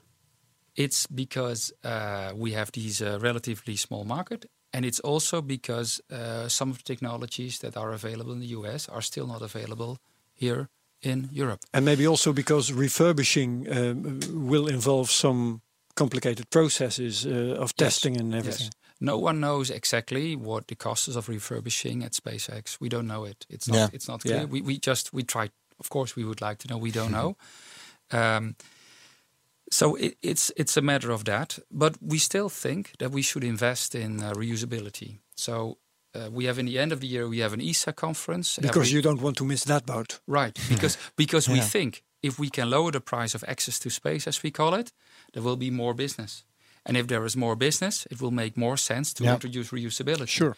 S3: it's because uh, we have these uh, relatively small market and it's also because uh, some of the technologies that are available in the US are still not available here in Europe.
S1: And maybe also because refurbishing um, will involve some complicated processes uh, of testing and everything.
S3: No one knows exactly what the cost is of refurbishing at SpaceX. We don't know it. It's not.
S2: Yeah.
S3: It's not clear.
S1: Yeah.
S3: We, we just we tried. Of course, we would like to know. We don't know. Um, so it, it's it's a matter of that. But we still think that we should invest in uh, reusability. So. uh, we have in the end of the year we have an ESA conference
S1: Because
S3: every-
S1: you don't want to miss that boat.
S3: Right, because because we
S1: Yeah.
S3: think if we can lower the price of access to space, as we call it, there will be more business, and if there is more business, it will make more sense to
S1: Yeah.
S3: introduce reusability.
S1: Sure.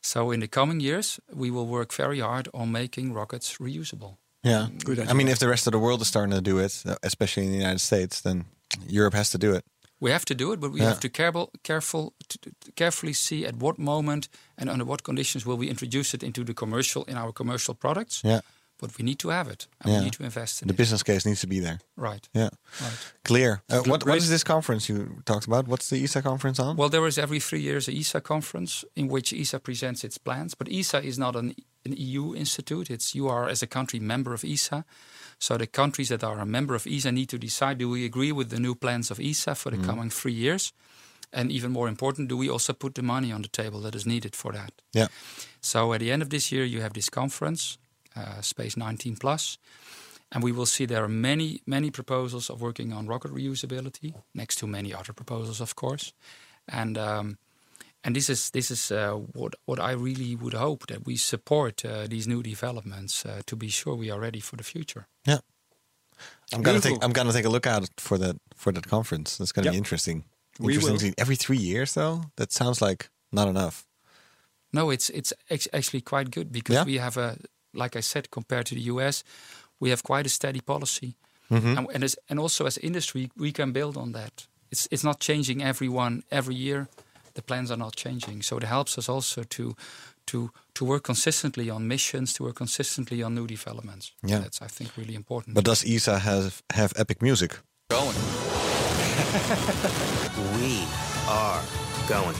S3: So in the coming years, we will work very hard on making rockets reusable.
S2: Yeah.
S1: Good
S2: I mean, if the rest of the world is starting to do it, uh, especially in the United States, then Europe has to do it.
S3: We have to do it, but we
S2: Yeah.
S3: have to careful, careful, to, to carefully see at what moment and under what conditions will we introduce it into the commercial in our commercial products.
S2: Yeah.
S3: But we need to have it, and
S2: Yeah.
S3: we need to invest in
S2: The
S3: it.
S2: business case needs to be there.
S3: Right.
S2: Yeah.
S3: Right.
S2: Clear. Uh, what What
S3: great.
S2: is this conference you talked about? What's the ESA conference on?
S3: Well, there is every three years a ESA conference in which ESA presents its plans. But ESA is not an, an EU institute. It's you are as a country member of ESA. So the countries that are a member of ESA need to decide: Do we agree with the new plans of ESA for the coming three years? And even more important, do we also put the money on the table that is needed for that?
S2: yeah.
S3: So at the end of this year, you have this conference, uh, Space 19 Plus, and we will see there are many, many proposals of working on rocket reusability, next to many other proposals, of course. And um, and this is this is uh, what what I really would hope that we support uh, these new developments uh, to be sure we are ready for the future.
S2: Yeah. I'm gonna take
S3: Beautiful.
S2: I'm gonna take a look out for that for that conference. That's gonna
S1: Yeah.
S2: be interesting.
S1: We
S2: interesting
S1: will.
S2: to see. every three years though. That sounds like not enough.
S3: No, it's it's ac- actually quite good because
S2: Yeah?
S3: we have a, like I said, compared to the US, we have quite a steady policy,
S2: Mm-hmm.
S3: and, and, as, and also as industry, we can build on that. It's it's not changing everyone every year. The plans are not changing, so it helps us also to to to work consistently on missions, to work consistently on new developments.
S2: Yeah.
S3: that's I think really important.
S2: But does ESA have have epic music?
S8: We are going.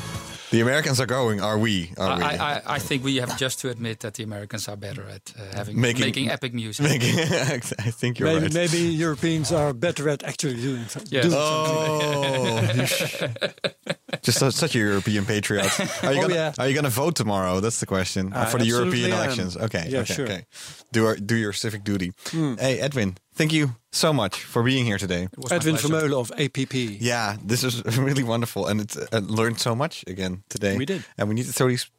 S2: The Americans are going. Are we? Are we?
S3: I, I, I- I think we have just to admit that the Americans are better at uh, having
S2: Making-
S3: making, epic music.
S2: I think you're
S1: Maybe,
S2: right.
S1: maybe Europeans are better at actually doing something.
S3: Yes.
S2: Oh, you sh- Oh. just so- such a European patriot. Are you
S1: Oh,
S2: gonna
S1: yeah.
S2: Are you gonna vote tomorrow? That's the question Uh, for the
S1: absolutely
S2: European
S1: am.
S2: elections. Okay,
S1: Yeah,
S2: okay,
S1: sure. Hmm.
S2: okay. Do our, do your civic duty. Hey, Edwin, thank you so much for being here today.
S3: It was my
S1: Edwin
S3: pleasure.
S1: Vermeulen of APP.
S2: Yeah, this is really wonderful, and it's I learned so much again today.
S1: We did.
S2: and we need to throw these.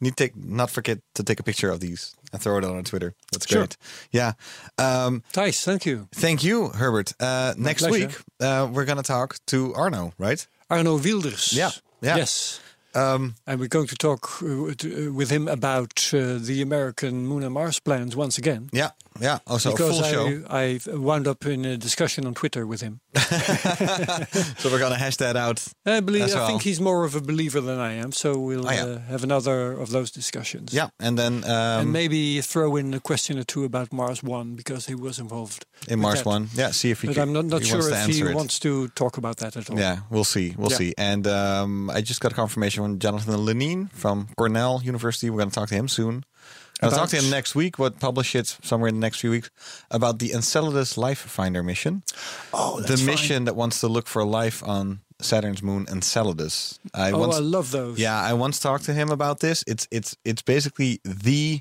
S2: Need to take, not forget to take a picture of these and throw it on our Twitter. That's
S1: Sure.
S2: great. Yeah. Um,
S1: Thijs, thank you.
S2: thank you, Herbert. Uh, next
S1: pleasure.
S2: week uh, we're gonna talk to Arno, right? Um,
S1: Arno Wilders.
S2: Yeah, yeah.
S1: Yes. and we're going to talk uh, to- uh, with him about uh, the American moon and Mars plans once again.
S2: Yeah, yeah. Also a
S1: because
S2: full show.
S1: I, I wound up in a discussion on Twitter with him.
S2: So we're gonna hash that out.
S1: I believe
S2: As
S1: I
S2: well.
S1: think he's more of a believer than I am, so we'll
S2: Oh, yeah.
S1: uh, have another of those discussions.
S2: Yeah, and then
S1: and
S2: um,
S1: maybe throw in a question or two about Mars One because he was involved
S2: in
S1: with
S2: Mars
S1: that.
S2: one. Yeah, see if he.
S1: But
S2: can-
S1: I'm not, not
S2: he
S1: sure
S2: wants to
S1: if he
S2: answer it.
S1: wants to talk about that at all.
S2: Yeah, we'll see. We'll
S1: Yeah.
S2: see. And um, I just got confirmation from Jonathan Lenine from Cornell University. We're going to talk to him soon. I'll
S1: About-
S2: talk to him next week, but publish it somewhere in the next few weeks about the Enceladus Life Finder mission. Oh, the mission that wants to look for life on Saturn's moon Enceladus. I
S1: Oh,
S2: once,
S1: I love those.
S2: yeah, I once talked to him about this. It's it's it's basically the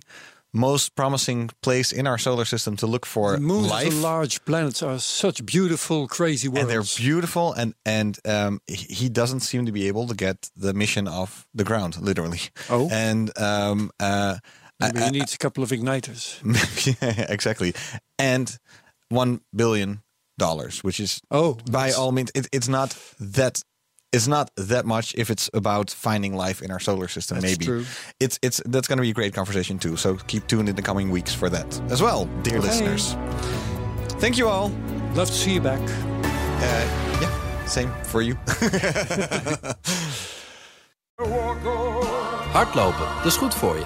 S2: most promising place in our solar system to look for
S1: The moons
S2: life
S1: of the large planets are such beautiful, crazy worlds.
S2: and they're beautiful and and um, he he doesn't seem to be able to get the mission off the ground literally
S1: Oh.
S2: and um uh
S1: Maybe he needs a couple of igniters.
S2: yeah, exactly and one billion dollars which is
S1: Oh,
S2: by
S1: that's-
S2: all means it, it's not that it's not that much if it's about finding life in our solar system
S1: That's
S2: maybe
S1: true.
S2: it's it's that's going to be a great conversation too so keep tuned in the coming weeks for that as well dear
S1: Okay.
S2: listeners thank you all
S1: Love to see you back.
S2: uh, yeah same for you
S8: Hardlopen, dat is goed voor je.